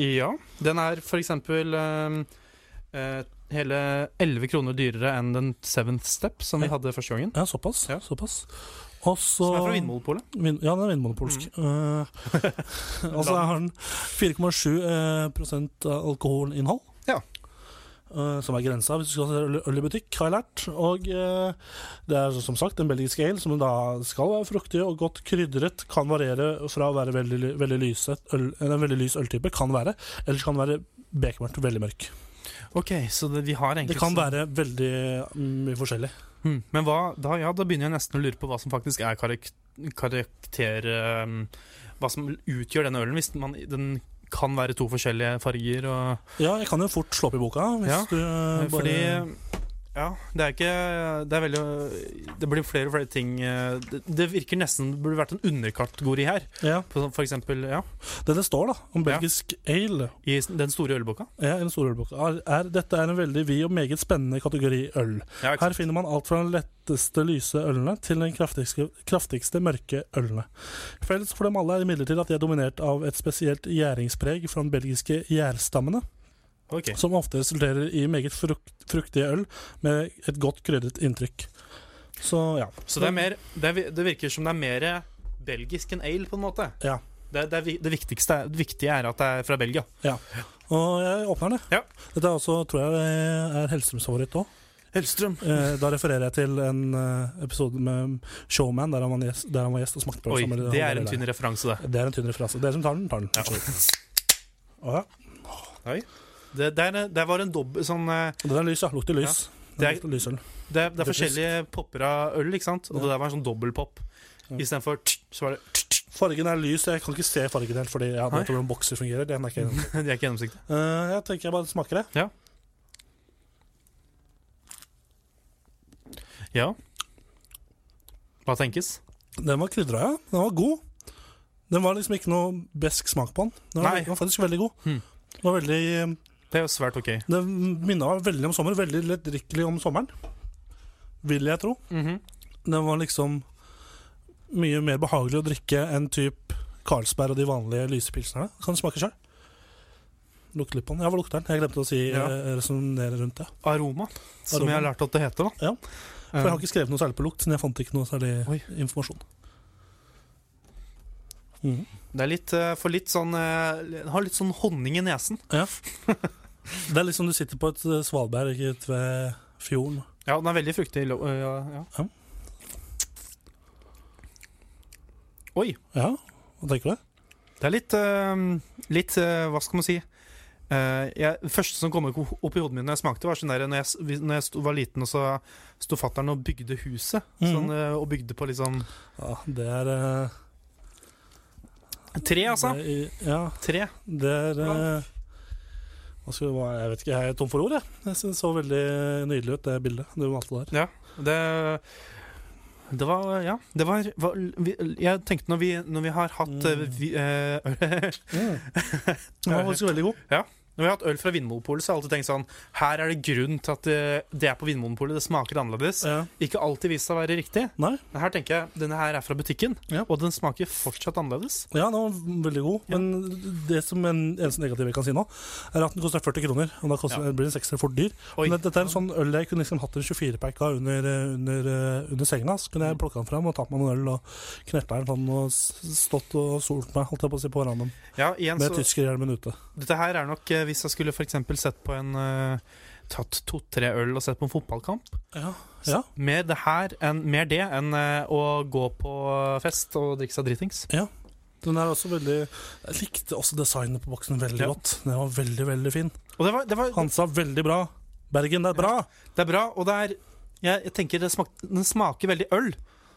Speaker 6: Ja. Den er for eksempel eh, eh, hele 11 kroner dyrere enn den Seventh Step som vi
Speaker 5: Ja.
Speaker 6: hadde første gangen.
Speaker 5: Ja, såpass.
Speaker 6: Ja.
Speaker 5: såpass. Og så
Speaker 6: Som er fra Vinmonopolet.
Speaker 5: Vin- Ja, den er vinmonopolsk.
Speaker 6: Mm.
Speaker 5: Eh, og så har den 4,7 eh, prosent alkoholinnhold.
Speaker 6: Ja.
Speaker 5: Eh, som er grensa hvis du skal ha øl- øl i butikk, har jeg lært. Og eh, det er som sagt en belgisk ale som da skal være fruktig og godt krydret. Kan variere fra å være veldig, ly- veldig lyse øl, eller En veldig lys øltype, kan være, eller så kan den være bekmørkt, veldig mørk.
Speaker 6: Ok, så det, vi har egentlig
Speaker 5: Det kan være veldig mye forskjellig.
Speaker 6: Mm. Men hva, da, ja, da begynner jeg nesten å lure på hva som faktisk er karak karakter... eh, hva som utgjør denne ølen, hvis man, den kan være to forskjellige farger og
Speaker 5: Ja, jeg kan jo fort slå opp i boka hvis
Speaker 6: Ja,
Speaker 5: du eh, bare
Speaker 6: Fordi ja, det er ikke Det er veldig Det blir flere og flere ting eh, Det, det virker nesten Det burde vært en underkategori her.
Speaker 5: ja.
Speaker 6: På sånn- For eksempel, ja,
Speaker 5: Det det står, da, om
Speaker 6: Ja.
Speaker 5: belgisk ale,
Speaker 6: i s- den store ølboka.
Speaker 5: er en stor ølbok, er, er, dette er en veldig vid og meget spennende kategori øl.
Speaker 6: Ja, ikke
Speaker 5: Her
Speaker 6: sant?
Speaker 5: finner man alt fra den letteste lyse ølene til den kraftigste, kraftigste mørke ølene. Felles for dem alle er imidlertid at de er dominert av et spesielt gjæringspreg fra den belgiske gjærstammene,
Speaker 6: Ok.
Speaker 5: som ofte resulterer i meget frukt, fruktige øl med et godt krydret inntrykk. Så ja.
Speaker 6: Så det er mer det, er, vi- det virker som det er mer belgisk enn ale, på en måte.
Speaker 5: Ja.
Speaker 6: Det, det, er, vi- det viktigste er- det viktige er at det er fra Belgia.
Speaker 5: Og jeg åpner den, jeg.
Speaker 6: Ja.
Speaker 5: Dette er også, tror jeg, er Hellstrøms favoritt òg.
Speaker 6: Hellstrøm.
Speaker 5: Eh, Da refererer jeg til en eh, episode med Showman, der han var gjest, der han var gjest og smakte på
Speaker 6: Oi,
Speaker 5: samme-
Speaker 6: det er en tynn referanse, det.
Speaker 5: Det er en tynn referanse. Dere som tar den, tar den. Å ja.
Speaker 6: Det, det, er, det var en dobbel sånn eh,
Speaker 5: Den er lys, ja. Lukter lys.
Speaker 6: Det er-
Speaker 5: Den lukter lysøl.
Speaker 6: Det er, det er
Speaker 5: British.
Speaker 6: forskjellige popper av øl, ikke sant? Og det der var en sånn dobbeltpop.
Speaker 5: Ja.
Speaker 6: Istedenfor tsk, så var det
Speaker 5: Fargen er lys, jeg kan ikke se fargen helt, fordi jeg vet
Speaker 6: Nei.
Speaker 5: ikke hvordan bokser fungerer. Det merker jeg.
Speaker 6: De er ikke gjennomsiktige.
Speaker 5: Eh, jeg tenker jeg bare smaker det.
Speaker 6: Ja. Hva tenkes?
Speaker 5: Den var krydra, ja. Den var god. Den var liksom ikke noe besk smak på den. Den var,
Speaker 6: Nei.
Speaker 5: den var faktisk veldig god.
Speaker 6: Hmm.
Speaker 5: Den var veldig eh,
Speaker 6: Det er jo svært ok.
Speaker 5: Det minna meg veldig om sommer. Veldig lettdrikkelig om sommeren, vil jeg tro.
Speaker 6: Mhm.
Speaker 5: Den var liksom mye mer behagelig å drikke enn typ Carlsberg og de vanlige lysepilsene. Kan du smake sjøl? Lukte litt på den. Ja, hva lukter den? Jeg glemte å si
Speaker 6: Ja.
Speaker 5: resonnere rundt det.
Speaker 6: Aroma, som
Speaker 5: Aroma.
Speaker 6: jeg har lært at det heter. da
Speaker 5: Ja. For jeg
Speaker 6: Eh,
Speaker 5: har ikke skrevet noe særlig på lukt, siden jeg fant ikke noe særlig
Speaker 6: Oi.
Speaker 5: informasjon. Mhm.
Speaker 6: eh, Det er litt eh, for litt sånn eh, Den har litt sånn honning i nesen.
Speaker 5: Ja. Det er liksom du sitter på et eh, svalbard, ikke ute ved fjorden.
Speaker 6: Ja, den er veldig fruktig. lo- øh, Ja, ja. Oi.
Speaker 5: Ja, hva tenker du?
Speaker 6: Det er litt, øh, litt øh, Hva skal man si? Eh, jeg, det første som kom opp opp i hodet mitt når jeg smakte, var sånn der når jeg, s- vi- når jeg sto, var liten, og så sto fatter'n og bygde huset.
Speaker 5: Mhm.
Speaker 6: Sånn, øh, og bygde på liksom
Speaker 5: Ja, det er eh,
Speaker 6: Tre, altså.
Speaker 5: det er- Ja,
Speaker 6: Tre.
Speaker 5: det er eh, hva skal, hva, Jeg vet ikke, jeg er tom for ord, jeg. Jeg synes det så veldig nydelig ut, det bildet du malte der.
Speaker 6: Det det var Ja. Det var, var vi, Jeg tenkte når vi, når vi har hatt øh,
Speaker 5: Mm.
Speaker 6: vi, øh,
Speaker 5: Den var faktisk veldig god.
Speaker 6: Når vi har hatt øl fra Vinmonopolet, så har jeg alltid tenkt sånn Her er det grunn til at eh, det er på Vinmonopolet, det smaker annerledes.
Speaker 5: Ja.
Speaker 6: Ikke alltid vist seg å være riktig.
Speaker 5: Nei.
Speaker 6: Men her tenker jeg, denne her er fra butikken,
Speaker 5: Ja.
Speaker 6: og den smaker fortsatt annerledes.
Speaker 5: Ja, den var veldig god.
Speaker 6: Ja.
Speaker 5: Men det som en eneste negativ jeg kan si nå, er at den koster 40 kroner. Og da koster,
Speaker 6: Ja.
Speaker 5: blir den 60 fort dyr.
Speaker 6: Oi.
Speaker 5: Men dette er en sånn øl jeg kunne liksom hatt en 24-pack av under, eh, under, under senga. Så kunne jeg plukka den fram og tatt meg en øl og knerta den sånn og s- stått og solt meg holdt jeg på å si på verandaen
Speaker 6: Ja, igjen,
Speaker 5: med
Speaker 6: så,
Speaker 5: tyskerhjelmen ute.
Speaker 6: dette her er nok eh, Hvis jeg skulle f.eks. sett på en eh, Tatt to-tre øl og sett på en fotballkamp.
Speaker 5: Ja. Ja.
Speaker 6: Mer det her enn mer det enn eh, å gå på fest og drikke seg dritings.
Speaker 5: Den er også veldig Jeg likte også designet på boksen veldig
Speaker 6: Ja.
Speaker 5: godt. Den var veldig, veldig fin.
Speaker 6: Og det var, det var
Speaker 5: Hansa, veldig bra. Bergen, det er bra!
Speaker 6: Det er bra, og det er Jeg, jeg tenker det smak, den smaker veldig øl.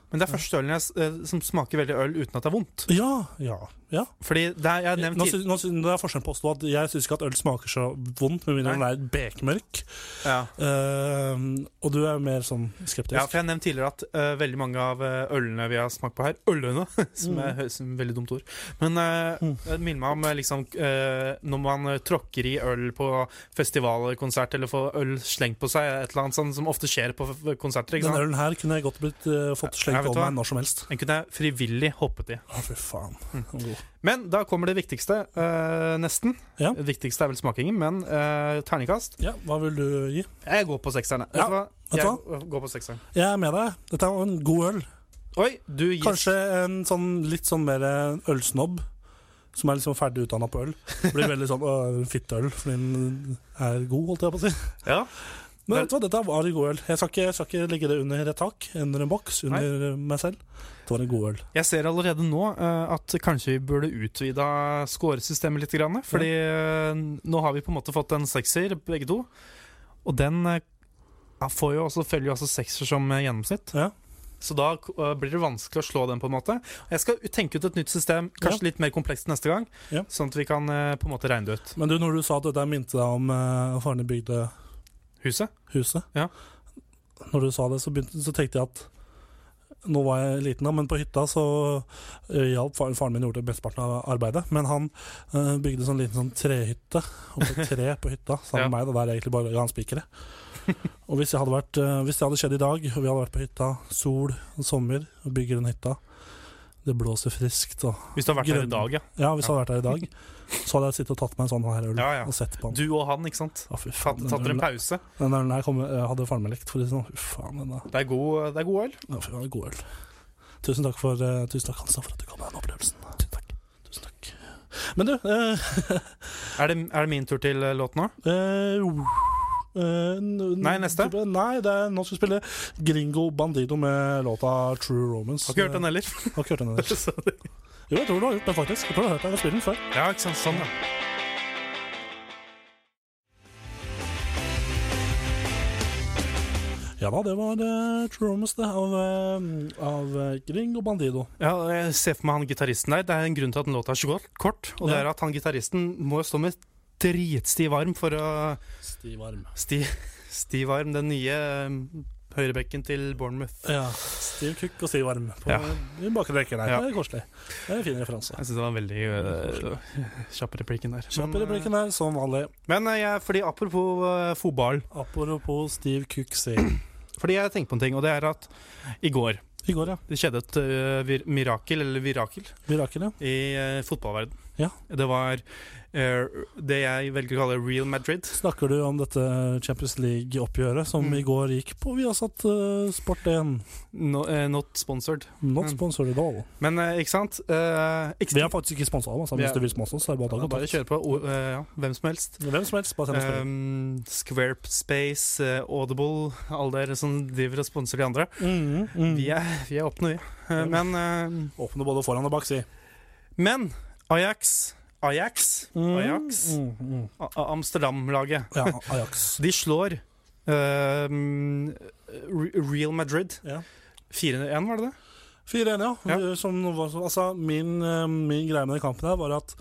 Speaker 6: Men det er første ølen jeg, s- eh, som smaker veldig øl uten at det er vondt.
Speaker 5: Ja, ja, ja.
Speaker 6: Fordi det er, jeg har
Speaker 5: Eh,
Speaker 6: nevnt
Speaker 5: Nå, sy- nå, sy- det er forskjellen på oss to. at Jeg syns ikke at øl smaker så vondt, med mindre den er bekmørk.
Speaker 6: tid- ja.
Speaker 5: Ehm, og du er mer sånn skeptisk.
Speaker 6: ja, for jeg har nevnt tidligere at eh, veldig mange av eh, ølene vi har smakt på her Ølene! Som er hø- som er et veldig dumt ord. Men eh,
Speaker 5: Mm.
Speaker 6: det minner meg om eh, liksom eh, når man eh, tråkker i øl på festival eller konsert, eller får øl slengt på seg, et eller annet sånt som ofte skjer på f- f- konserter. ikke
Speaker 5: Den
Speaker 6: sant?
Speaker 5: ølen her kunne jeg godt blitt eh, fått
Speaker 6: Ja,
Speaker 5: slengt
Speaker 6: vet du
Speaker 5: over
Speaker 6: hva?
Speaker 5: meg når som helst.
Speaker 6: Den kunne jeg frivillig hoppet i.
Speaker 5: Å, fy faen.
Speaker 6: Mm.
Speaker 5: Den var god.
Speaker 6: Men da kommer det viktigste, eh, nesten.
Speaker 5: Ja.
Speaker 6: Det viktigste er vel smakingen, men eh, terningkast.
Speaker 5: Ja, hva vil du gi?
Speaker 6: Jeg går på sekseren. jeg.
Speaker 5: Ja,
Speaker 6: Vet du hva?
Speaker 5: vet du
Speaker 6: Jeg går på sekseren.
Speaker 5: Jeg er med deg. Dette var en god øl.
Speaker 6: Oi, du gir
Speaker 5: Kanskje en sånn litt sånn mer eh, ølsnobb. Som er liksom ferdig utdanna på øl. Blir veldig sånn øh, fitteøl, fordi den er god, holdt jeg på å si.
Speaker 6: Ja.
Speaker 5: Men vet du hva, dette var en god øl. Jeg skal ikke, jeg skal ikke legge det under et tak, under en boks, under meg selv. Det var en god øl.
Speaker 6: Jeg ser allerede nå eh, at kanskje vi burde utvida scoresystemet litt. Grann, fordi eh, nå har vi på en måte fått en sekser, begge to. Og den eh, ja, får jo også, følger jo også sekser som eh, gjennomsnitt.
Speaker 5: Ja.
Speaker 6: Så da eh, blir det vanskelig å slå den. på en måte Jeg skal tenke ut et nytt system, kanskje litt mer komplekst neste gang.
Speaker 5: Ja.
Speaker 6: Sånn at vi kan eh, på en måte regne det ut.
Speaker 5: Men du, når du sa at dette minte deg om uh, faren din bygde
Speaker 6: Huset?
Speaker 5: huset.
Speaker 6: Ja.
Speaker 5: Når du sa det, så, begynte, så tenkte jeg at nå var jeg liten, da, men på hytta så ø, hjalp faren, faren min gjorde mesteparten av arbeidet. Men han ø, bygde sånn liten sånn trehytte oppå et tre på hytta sammen med meg. Da, der jeg egentlig bare ga han spikere. Og hvis, jeg hadde vært, ø, hvis det hadde skjedd i dag, og vi hadde vært på hytta, sol og sommer, og bygger den hytta Det blåser friskt og
Speaker 6: Hvis du har vært her
Speaker 5: Grønn.
Speaker 6: i dag, ja.
Speaker 5: Ja, hvis jeg hadde vært her i dag, så hadde jeg sittet og tatt meg en sånn her øl
Speaker 6: Ja, ja.
Speaker 5: og sett på den.
Speaker 6: Du og han, ikke sant?
Speaker 5: Å, fy faen,
Speaker 6: Tatt,
Speaker 5: den
Speaker 6: tatt dere
Speaker 5: ølen-
Speaker 6: en pause.
Speaker 5: Den ølen her kom, eh, hadde faren min likt, for å si det sånn. Fy faen, den er,
Speaker 6: Det er god, det er god øl.
Speaker 5: ja, fy faen, det er god øl. Tusen takk, for, eh, tusen takk Hansa, for at du ga meg den opplevelsen. Tusen takk. Tusen takk. Men du eh,
Speaker 6: Er det, er det min tur til eh, låt nå?
Speaker 5: eh, eh, n-
Speaker 6: Nei, neste.
Speaker 5: type- Nei, det er, nå skal vi spille Gringo Bandido med låta True Romance.
Speaker 6: Har ikke hørt den heller.
Speaker 5: Eh, Har ikke hørt den heller.
Speaker 6: Så det-
Speaker 5: Jo, jeg tror du har gjort det, faktisk. Jeg tror du har hørt den. Jeg har spilt den før.
Speaker 6: ja, ikke sant. Sånn, ja.
Speaker 5: Ja da, det var eh, True Romance, det. Av, eh, av eh, Gringo Bandido.
Speaker 6: ja. Jeg ser for meg han gitaristen der. Det er en grunn til at den låta er så kort- kort. Og det
Speaker 5: Ja.
Speaker 6: er at han gitaristen må stå med dritstiv arm for å
Speaker 5: Stiv arm.
Speaker 6: Sti, Stiv arm, den nye eh, høyrebekken til Bournemouth.
Speaker 5: Ja. Stiv kukk og stiv arm på,
Speaker 6: Ja.
Speaker 5: i bakre rekke der.
Speaker 6: Ja.
Speaker 5: Det er koselig. Det er en fin referanse.
Speaker 6: Jeg syns det var en veldig eh, kjapp replikken der.
Speaker 5: Kjapp i
Speaker 6: Men, eh,
Speaker 5: replikken der, som vanlig.
Speaker 6: Men eh, jeg, fordi apropos eh, fotball
Speaker 5: Apropos Steve Cook C.
Speaker 6: Fordi jeg tenker på en ting, og det er at i går
Speaker 5: I går, ja.
Speaker 6: Det skjedde et eh, vir øh, mirakel, eller virakel,
Speaker 5: Mirakel, ja.
Speaker 6: i uh, fotballverden.
Speaker 5: Ja.
Speaker 6: Det var eh, det jeg velger å kalle Real Madrid.
Speaker 5: Snakker du om dette Champions League-oppgjøret som
Speaker 6: Mm.
Speaker 5: i går gikk på Viasat uh, Sport1?
Speaker 6: No, eh, not sponsored.
Speaker 5: Not
Speaker 6: Mm.
Speaker 5: sponsored at all.
Speaker 6: Men eh, ikke sant? Eh, ikke,
Speaker 5: Vi er faktisk ikke sponsa av oss, men
Speaker 6: Vi
Speaker 5: hvis du
Speaker 6: er-
Speaker 5: vil sponse oss, så er det bare å ta
Speaker 6: bare
Speaker 5: kontakt.
Speaker 6: kjør på. O- eh, ja, hvem som helst.
Speaker 5: Hvem som helst, bare send oss melding.
Speaker 6: Um, Squarespace, eh, Audible, alle dere som driver og sponser de andre.
Speaker 5: Mm, mm.
Speaker 6: Vi er, vi er åpne, vi. Eh, Men, eh,
Speaker 5: Åpne både foran og bak, si.
Speaker 6: men Ajax, Ajax, Ajax,
Speaker 5: Mm, mm.
Speaker 6: A- A- Amsterdam-laget,
Speaker 5: Ja, Ajax.
Speaker 6: de slår eh, Re- Real Madrid.
Speaker 5: Ja.
Speaker 6: 4-1, var det det?
Speaker 5: 4-1, ja. Eh,
Speaker 6: Ja.
Speaker 5: Som, nå var- altså, min, eh, min greie med den kampen her var at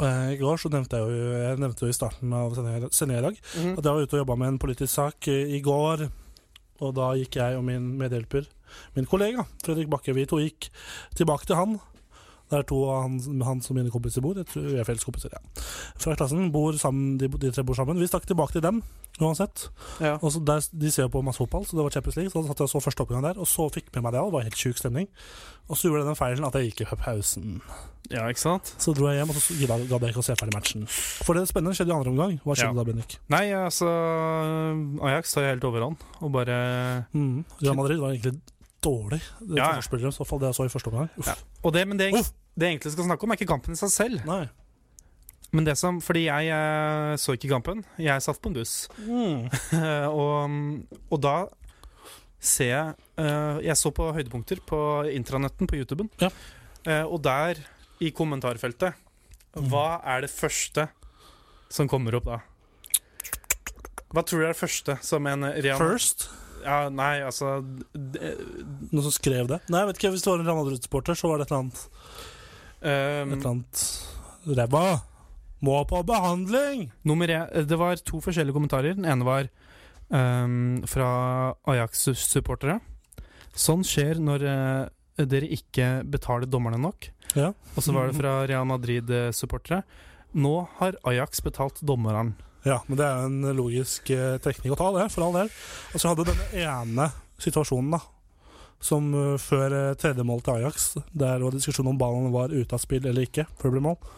Speaker 5: eh, i går så nevnte jeg jo, jeg nevnte jo i starten av sendinga sendinga i dag at jeg var ute og jobba med en politisk sak eh, i går. Og da gikk jeg og min medhjelper, min kollega Fredrik Bakke, vi to gikk tilbake til han. Der to av han, han som mine kompiser bor, jeg tror vi er felles kompiser, ja. fra klassen, bor sammen, de, de tre bor sammen. Vi stakk tilbake til dem uansett.
Speaker 6: Ja.
Speaker 5: Og så der, De ser jo på masse fotball, så det var Champions League. Så da satt jeg og så første oppgang der, og så fikk med meg det. og Det var helt sjuk stemning. Og så gjorde jeg den feilen at jeg gikk i pausen.
Speaker 6: ja, ikke sant?
Speaker 5: Så dro jeg hjem, og så gidda- gadd jeg ikke å se ferdig matchen. For det spennende skjedde i andre omgang. Hva skjedde
Speaker 6: Ja.
Speaker 5: da, Bendik?
Speaker 6: Nei, altså Ajax tar jo helt overhånd og bare
Speaker 5: Mm. Real Madrid var egentlig dårlig. Det
Speaker 6: Ja, ja.
Speaker 5: forsvarsspillet deres, i hvert fall det jeg så i første omgang. Uff.
Speaker 6: Ja. Og det, men det,
Speaker 5: Uff.
Speaker 6: det jeg egentlig skal snakke om, er ikke kampen i seg selv.
Speaker 5: Nei.
Speaker 6: Men det som, fordi jeg eh, så ikke kampen. Jeg satt på en buss. og, og da ser jeg eh, Jeg så på høydepunkter på intranetten på YouTuben.
Speaker 5: Ja.
Speaker 6: Eh, og der, i kommentarfeltet,
Speaker 5: Mm.
Speaker 6: hva er det første som kommer opp da? Hva tror du er det første som en Rian
Speaker 5: First,
Speaker 6: Ja, nei, altså d-
Speaker 5: noen som skrev det. Nei, jeg vet ikke, Hvis det var en Real Madrid-supporter, så var det et eller annet,
Speaker 6: eh,
Speaker 5: et eller annet Ræva! Må på behandling!
Speaker 6: Nummer en, eh, det var to forskjellige kommentarer. Den ene var ehm, fra Ajax-supportere. Sånn skjer når eh, dere ikke betaler dommerne nok.
Speaker 5: Ja.
Speaker 6: Og så var det fra Real Madrid-supportere. Nå har Ajax betalt dommeren.
Speaker 5: Ja, men det er jo en logisk eh, trekning å ta, det, for all del. Altså, jeg hadde denne ene situasjonen, da. Som eh, før eh, tredje mål til Ajax, der var diskusjon om ballen var ute av spill eller ikke, før det ble mål.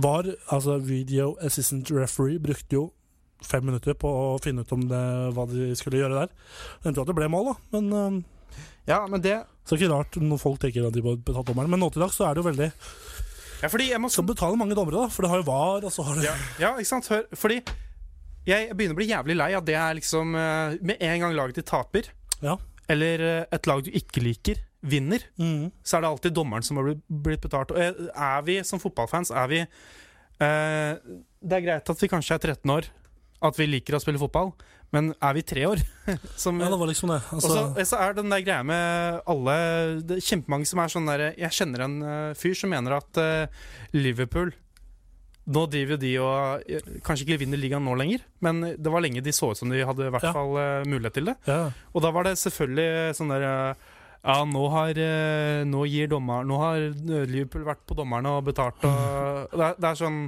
Speaker 5: Var, altså Video Assistant Referee brukte jo fem minutter på å finne ut om det, hva de skulle gjøre der. Det endte jo at det ble mål, da. Men eh,
Speaker 6: Ja, men det
Speaker 5: så er det ikke rart når folk tenker at de bør betale dommeren. Men nå til dags så er det jo veldig
Speaker 6: Ja, fordi jeg må
Speaker 5: Skal betale mange dommere, da, for det har jo VAR, og så har det
Speaker 6: ja, ja, ikke sant? Hør, fordi jeg begynner å bli jævlig lei av det er liksom eh, Med en gang laget ditt taper,
Speaker 5: Ja.
Speaker 6: eller eh, et lag du ikke liker, vinner,
Speaker 5: Mhm.
Speaker 6: så er det alltid dommeren som har bli- blitt betalt. Og er- er vi som fotballfans er vi, eh, Det er greit at vi kanskje er 13 år, at vi liker å spille fotball, men er vi tre år? Som,
Speaker 5: Ja, det var liksom det.
Speaker 6: og
Speaker 5: Altså,
Speaker 6: så og så er den der greia med alle Det er kjempemange som er sånn derre Jeg kjenner en eh, fyr som mener at eh, Liverpool Nå driver jo de og eh, Kanskje ikke vinner ligaen nå lenger, men det var lenge de så ut som de hadde i hvert
Speaker 5: Ja.
Speaker 6: fall eh, mulighet til det.
Speaker 5: ja.
Speaker 6: Og da var det selvfølgelig sånn der eh, Ja, nå har, eh, nå gir dommer, nå har Liverpool vært på dommerne og betalt og Det, er- det er sånn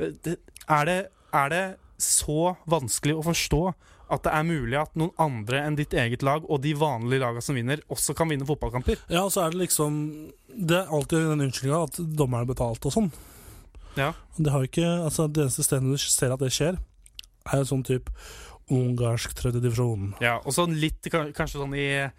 Speaker 6: eh, det, er, det, er det så vanskelig å forstå at det er mulig at noen andre enn ditt eget lag og de vanlige lagene som vinner, også kan vinne fotballkamper?
Speaker 5: Ja, og så er det liksom Det er alltid den unnskyldninga at dommeren er betalt og sånn.
Speaker 6: Ja.
Speaker 5: Det har jo ikke Altså, det eneste stedet du ser at det skjer, er jo sånn type ungarsk tredjedivisjon.
Speaker 6: Ja, og så litt kan- kanskje sånn i eh,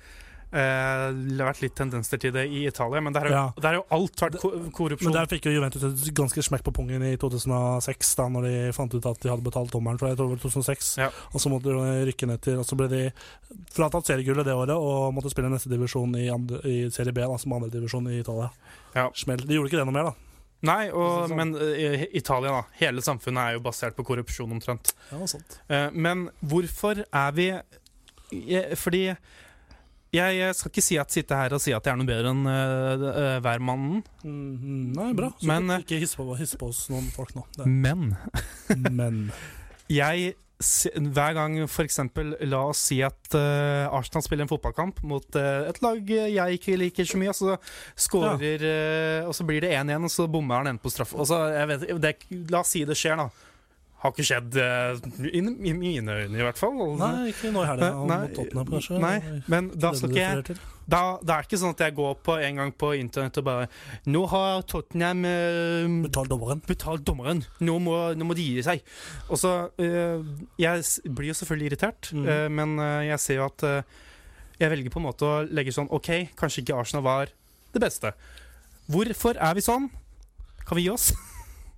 Speaker 6: det har vært litt tendenser til det i Italia, men der har,
Speaker 5: Ja.
Speaker 6: der har jo alt vært ko- korrupsjon.
Speaker 5: Men der fikk jo Juventus et ganske smekk på pungen i 2006, da når de fant ut at de hadde betalt dommeren, tror jeg, jeg tror det var 2006.
Speaker 6: Ja.
Speaker 5: Og så måtte de rykke ned til Og så ble de fratatt seriegullet det året og måtte spille neste divisjon i, andre, i serie B, da, som andredivisjon i Italia.
Speaker 6: Ja.
Speaker 5: Smell. De gjorde ikke det noe mer, da.
Speaker 6: Nei, og,
Speaker 5: Sånn.
Speaker 6: men eh, Italia, da. Hele samfunnet er jo basert på korrupsjon, omtrent.
Speaker 5: Ja, sant.
Speaker 6: Eh, men hvorfor er vi jeg, Fordi jeg, jeg skal ikke si at sitte her og si at jeg er noe bedre enn eh, eh, hvermannen,
Speaker 5: Mm, nei, bra. Så
Speaker 6: Men, eh,
Speaker 5: ikke hiss på, hiss på oss noen folk nå. Det.
Speaker 6: men
Speaker 5: Men
Speaker 6: jeg se- hver gang f.eks. la oss si at eh, Arsenal spiller en fotballkamp mot eh, et lag jeg ikke liker så mye, og så skårer eh, Og så blir det 1-1, og så bommer han ende på straffe. Og så, jeg vet, det, la oss si det skjer, da. har ikke skjedd eh, i i mine øyne, i hvert fall.
Speaker 5: Nei, ikke nå i helga. og Mot Tottenham, kanskje.
Speaker 6: nei, men da
Speaker 5: Det
Speaker 6: skal
Speaker 5: du
Speaker 6: ikke jeg
Speaker 5: refererer til.
Speaker 6: da, Det er ikke sånn at jeg går på en gang på internett og bare Nå har Tottenham eh,
Speaker 5: Betal dommeren.
Speaker 6: betalt dommeren. Nå må, nå må de gi seg. Og så eh, Jeg s- blir jo selvfølgelig irritert,
Speaker 5: Mhm.
Speaker 6: eh, men eh, jeg ser jo at eh, Jeg velger på en måte å legge sånn OK, kanskje ikke Arsenal var det beste. Hvorfor er vi sånn? Kan vi gi oss?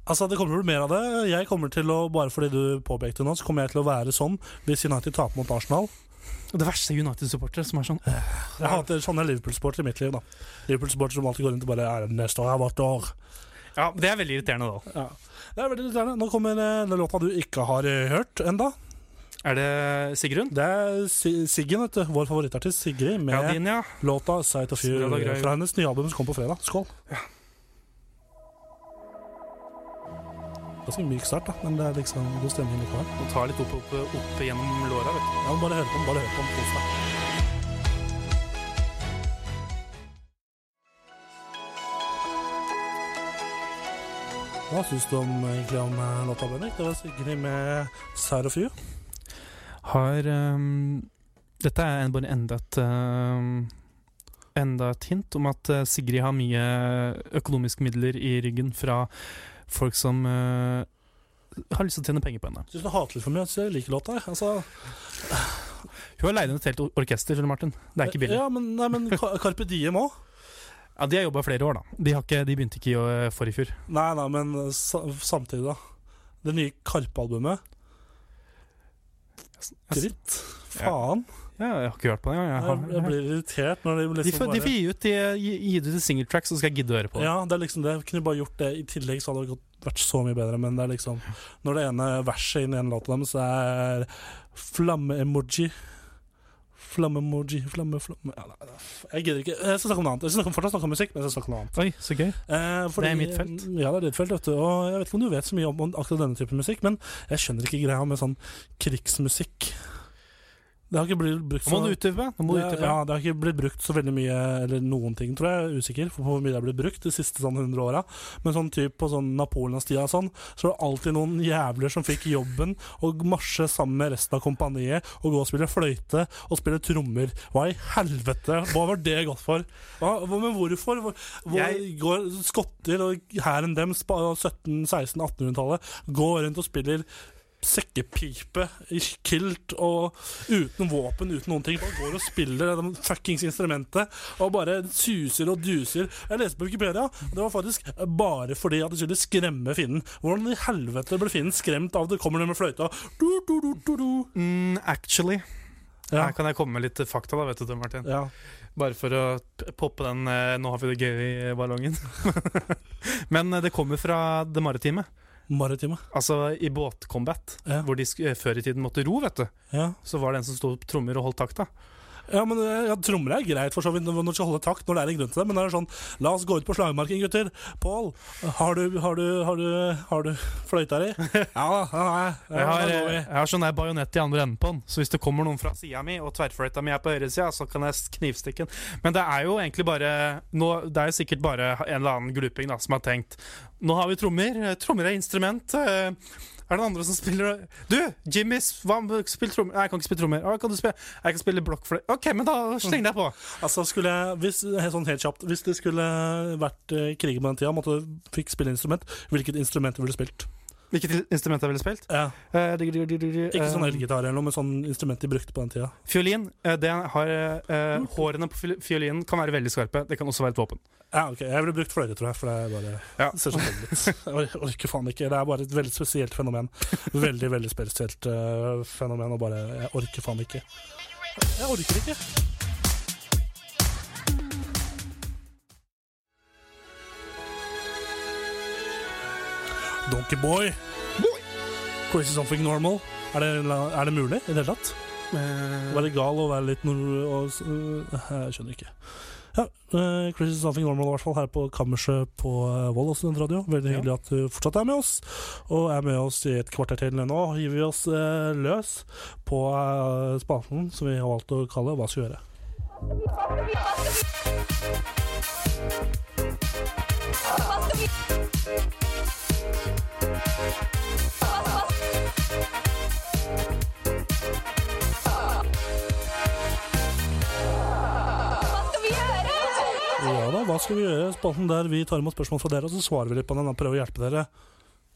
Speaker 5: Altså, Det kommer vel mer av det. Jeg kommer til å, Bare fordi du påpekte det nå, så kommer jeg til å være sånn hvis United taper mot Arsenal.
Speaker 6: Og det verste er United-supportere som er sånn
Speaker 5: Jeg hater sånne Liverpool-sportere i mitt liv. da Liverpool-sportere som alltid går rundt og bare er det neste år er vårt år.
Speaker 6: Ja, det er veldig irriterende, da.
Speaker 5: Ja. Det er veldig irriterende. Nå kommer eh, den låta du ikke har eh, hørt enda
Speaker 6: Er det Sigrun?
Speaker 5: Det er Si- Siggen, vet du. Vår favorittartist Sigrid med
Speaker 6: Ja, din, ja.
Speaker 5: låta 'Sight of You'
Speaker 6: Smell og greier.
Speaker 5: fra hennes nye album som kom på fredag. Skål. Ganske myk start, da, men det er liksom god stemning likevel.
Speaker 6: Må ta litt opp, opp, opp gjennom låra, vet
Speaker 5: Ja, men bare hør på den. bare hør på den. Kos deg. Hva syns du om, egentlig om eh, låta, Bendik? Det var Sigrid med 'Side of You'.
Speaker 6: du. Har ehm, Dette er en- bare enda et ehm, Enda et hint om at eh, Sigrid har mye økonomiske midler i ryggen fra folk som eh, har lyst til å tjene penger på henne.
Speaker 5: Syns du hater litt for mye, så jeg liker låta. jeg. Altså,
Speaker 6: Hun har leid inn et helt or- orkester, skjønner du, Martin. Det er ikke billig.
Speaker 5: Ja, men, nei, men Ka- Carpe Diem òg.
Speaker 6: Ja, De har jobba flere år, da. De, har ikke, de begynte ikke i år- forrige fjor.
Speaker 5: Nei, nei, men eh, sa samtidig, da. Det nye Karpe-albumet. Dritt. Faen.
Speaker 6: Ja, jeg har ikke hørt på det engang. Jeg
Speaker 5: Jeg,
Speaker 6: har-
Speaker 5: jeg blir irritert når de
Speaker 6: De
Speaker 5: liksom
Speaker 6: får, de får gi ut, de- gi, gi ut et singeltrack, så skal jeg gidde å høre på det.
Speaker 5: Ja, det er liksom det. Kunne bare gjort det i tillegg, så hadde det gått- vært så mye bedre. Men det er liksom Når det ene verset inn i en låt av dem, så er flamme-emoji. Flamme-emoji, flamme-flamme ja, nei, Jeg gidder ikke. Jeg skal snakke om noe annet. Jeg skal snakke, fortsatt snakke om musikk, men jeg skal snakke om noe annet.
Speaker 6: Oi, så gøy.
Speaker 5: Eh,
Speaker 6: Det er mitt felt.
Speaker 5: Ja, det er ditt felt, vet du. Og jeg vet ikke om du vet så mye om, om akkurat denne typen musikk, men jeg skjønner ikke greia med sånn krigsmusikk. Det har ikke blitt brukt
Speaker 6: Nå må
Speaker 5: så
Speaker 6: du utdype. Nå må du
Speaker 5: ja,
Speaker 6: utdype.
Speaker 5: ja, det har ikke blitt brukt så veldig mye, eller noen ting, tror jeg. jeg er Usikker på hvor mye det har blitt brukt de siste sånn 100 åra. Men sånn typ på sånn Napoleonstida og sånn, så var det alltid noen jævler som fikk jobben å marsje sammen med resten av kompaniet og gå og spille fløyte og spille trommer. Hva i helvete? Hva var det godt for? Hva, hva- men hvorfor? Hvor, hvor
Speaker 6: Jeg-
Speaker 5: går skotter og hæren dems på 17-, 16-, 1800-tallet går rundt og spiller sekkepipe i kilt og uten våpen, uten noen ting. Bare går og spiller det fuckings instrumentet og bare suser og duser. Jeg leste på Wikipedia, og det var faktisk bare fordi at de skulle skremme finnen. Hvordan i helvete ble finnen skremt av det kommer noen med fløyta? Du, du, du, du, du.
Speaker 6: Mm, actually.
Speaker 5: Ja.
Speaker 6: Her kan jeg komme med litt fakta, da, vet du, Martin.
Speaker 5: Ja.
Speaker 6: Bare for å p- poppe den eh, 'nå har vi det gøy'-ballongen. Men eh, det kommer fra det maritime.
Speaker 5: Maritime.
Speaker 6: Altså i båtcombat,
Speaker 5: Ja.
Speaker 6: hvor de sk eh, før i tiden måtte ro, vet du.
Speaker 5: Ja.
Speaker 6: Så var det en som sto på trommer og holdt takta.
Speaker 5: Ja, men eh, ja, Trommer er greit for så vidt når du skal holde takt, når det er en grunn til det. Men det er det sånn, la oss gå ut på slagmarken, gutter. Pål, har du, har du, har du, har du fløyta di? Ja da. Ja, nei,
Speaker 6: Jeg
Speaker 5: ja,
Speaker 6: har,
Speaker 5: da
Speaker 6: eh,
Speaker 5: går vi.
Speaker 6: jeg har sånn der bajonett i andre enden på den, så hvis det kommer noen fra sida mi, og tverrfløyta mi er på høyresida, så kan jeg s- knivstikke den. Men det er jo egentlig bare nå, Det er jo sikkert bare en eller annen gluping da, som har tenkt Nå har vi trommer. eh, Trommer er instrument. eh, Er det andre som spiller Du, Jimmy, s- hva med- spill trommer. Nei, jeg kan ikke spille trommer. Å, kan du spille? Jeg kan spille blokkfløyte. OK, men da slenger jeg på.
Speaker 5: Altså skulle jeg, hvis, helt sånn helt kjapt Hvis det skulle vært eh, krig på den tida Måtte du fikk spille instrument Hvilket instrument ville du spilt?
Speaker 6: Hvilket instrument jeg ville spilt?
Speaker 5: Ja.
Speaker 6: Eh, digg, digg, digg, digg, digg,
Speaker 5: Ikke sånn
Speaker 6: eh,
Speaker 5: elgitar eller noe Men sånn instrument de brukte på den tida
Speaker 6: Fiolin. eh, Det har, eh, hårene på fiol- fiolinen kan være veldig skarpe. Det kan også være et våpen.
Speaker 5: Ja, ok Jeg ville brukt fløyte, tror jeg For det er bare
Speaker 6: Ja.
Speaker 5: det ser så sånn ut Jeg or- orker faen ikke Det er bare et veldig spesielt fenomen Veldig, veldig spesielt eh, fenomen Og bare, jeg orker faen ikke Jeg orker ikke Donkey Boy. Crazy Something Normal. Er det, er det mulig i det hele tatt?
Speaker 6: Eh,
Speaker 5: Være gal og være litt nor... Og, s- øh, jeg skjønner ikke. Ja, eh, Crazy Something Normal i hvert fall her på kammerset på eh, Vold og Studentradio. Veldig
Speaker 6: Ja.
Speaker 5: hyggelig at du fortsatt er med oss. Og er med oss i et kvarter til nå. Hiver vi oss eh, løs på eh, spalten som vi har valgt å kalle Hva skal vi gjøre?
Speaker 4: Hva skal vi Hva- hva-
Speaker 5: skal vi gjøre spalten der vi tar imot spørsmål fra dere, og så svarer vi litt på den og prøver å hjelpe dere.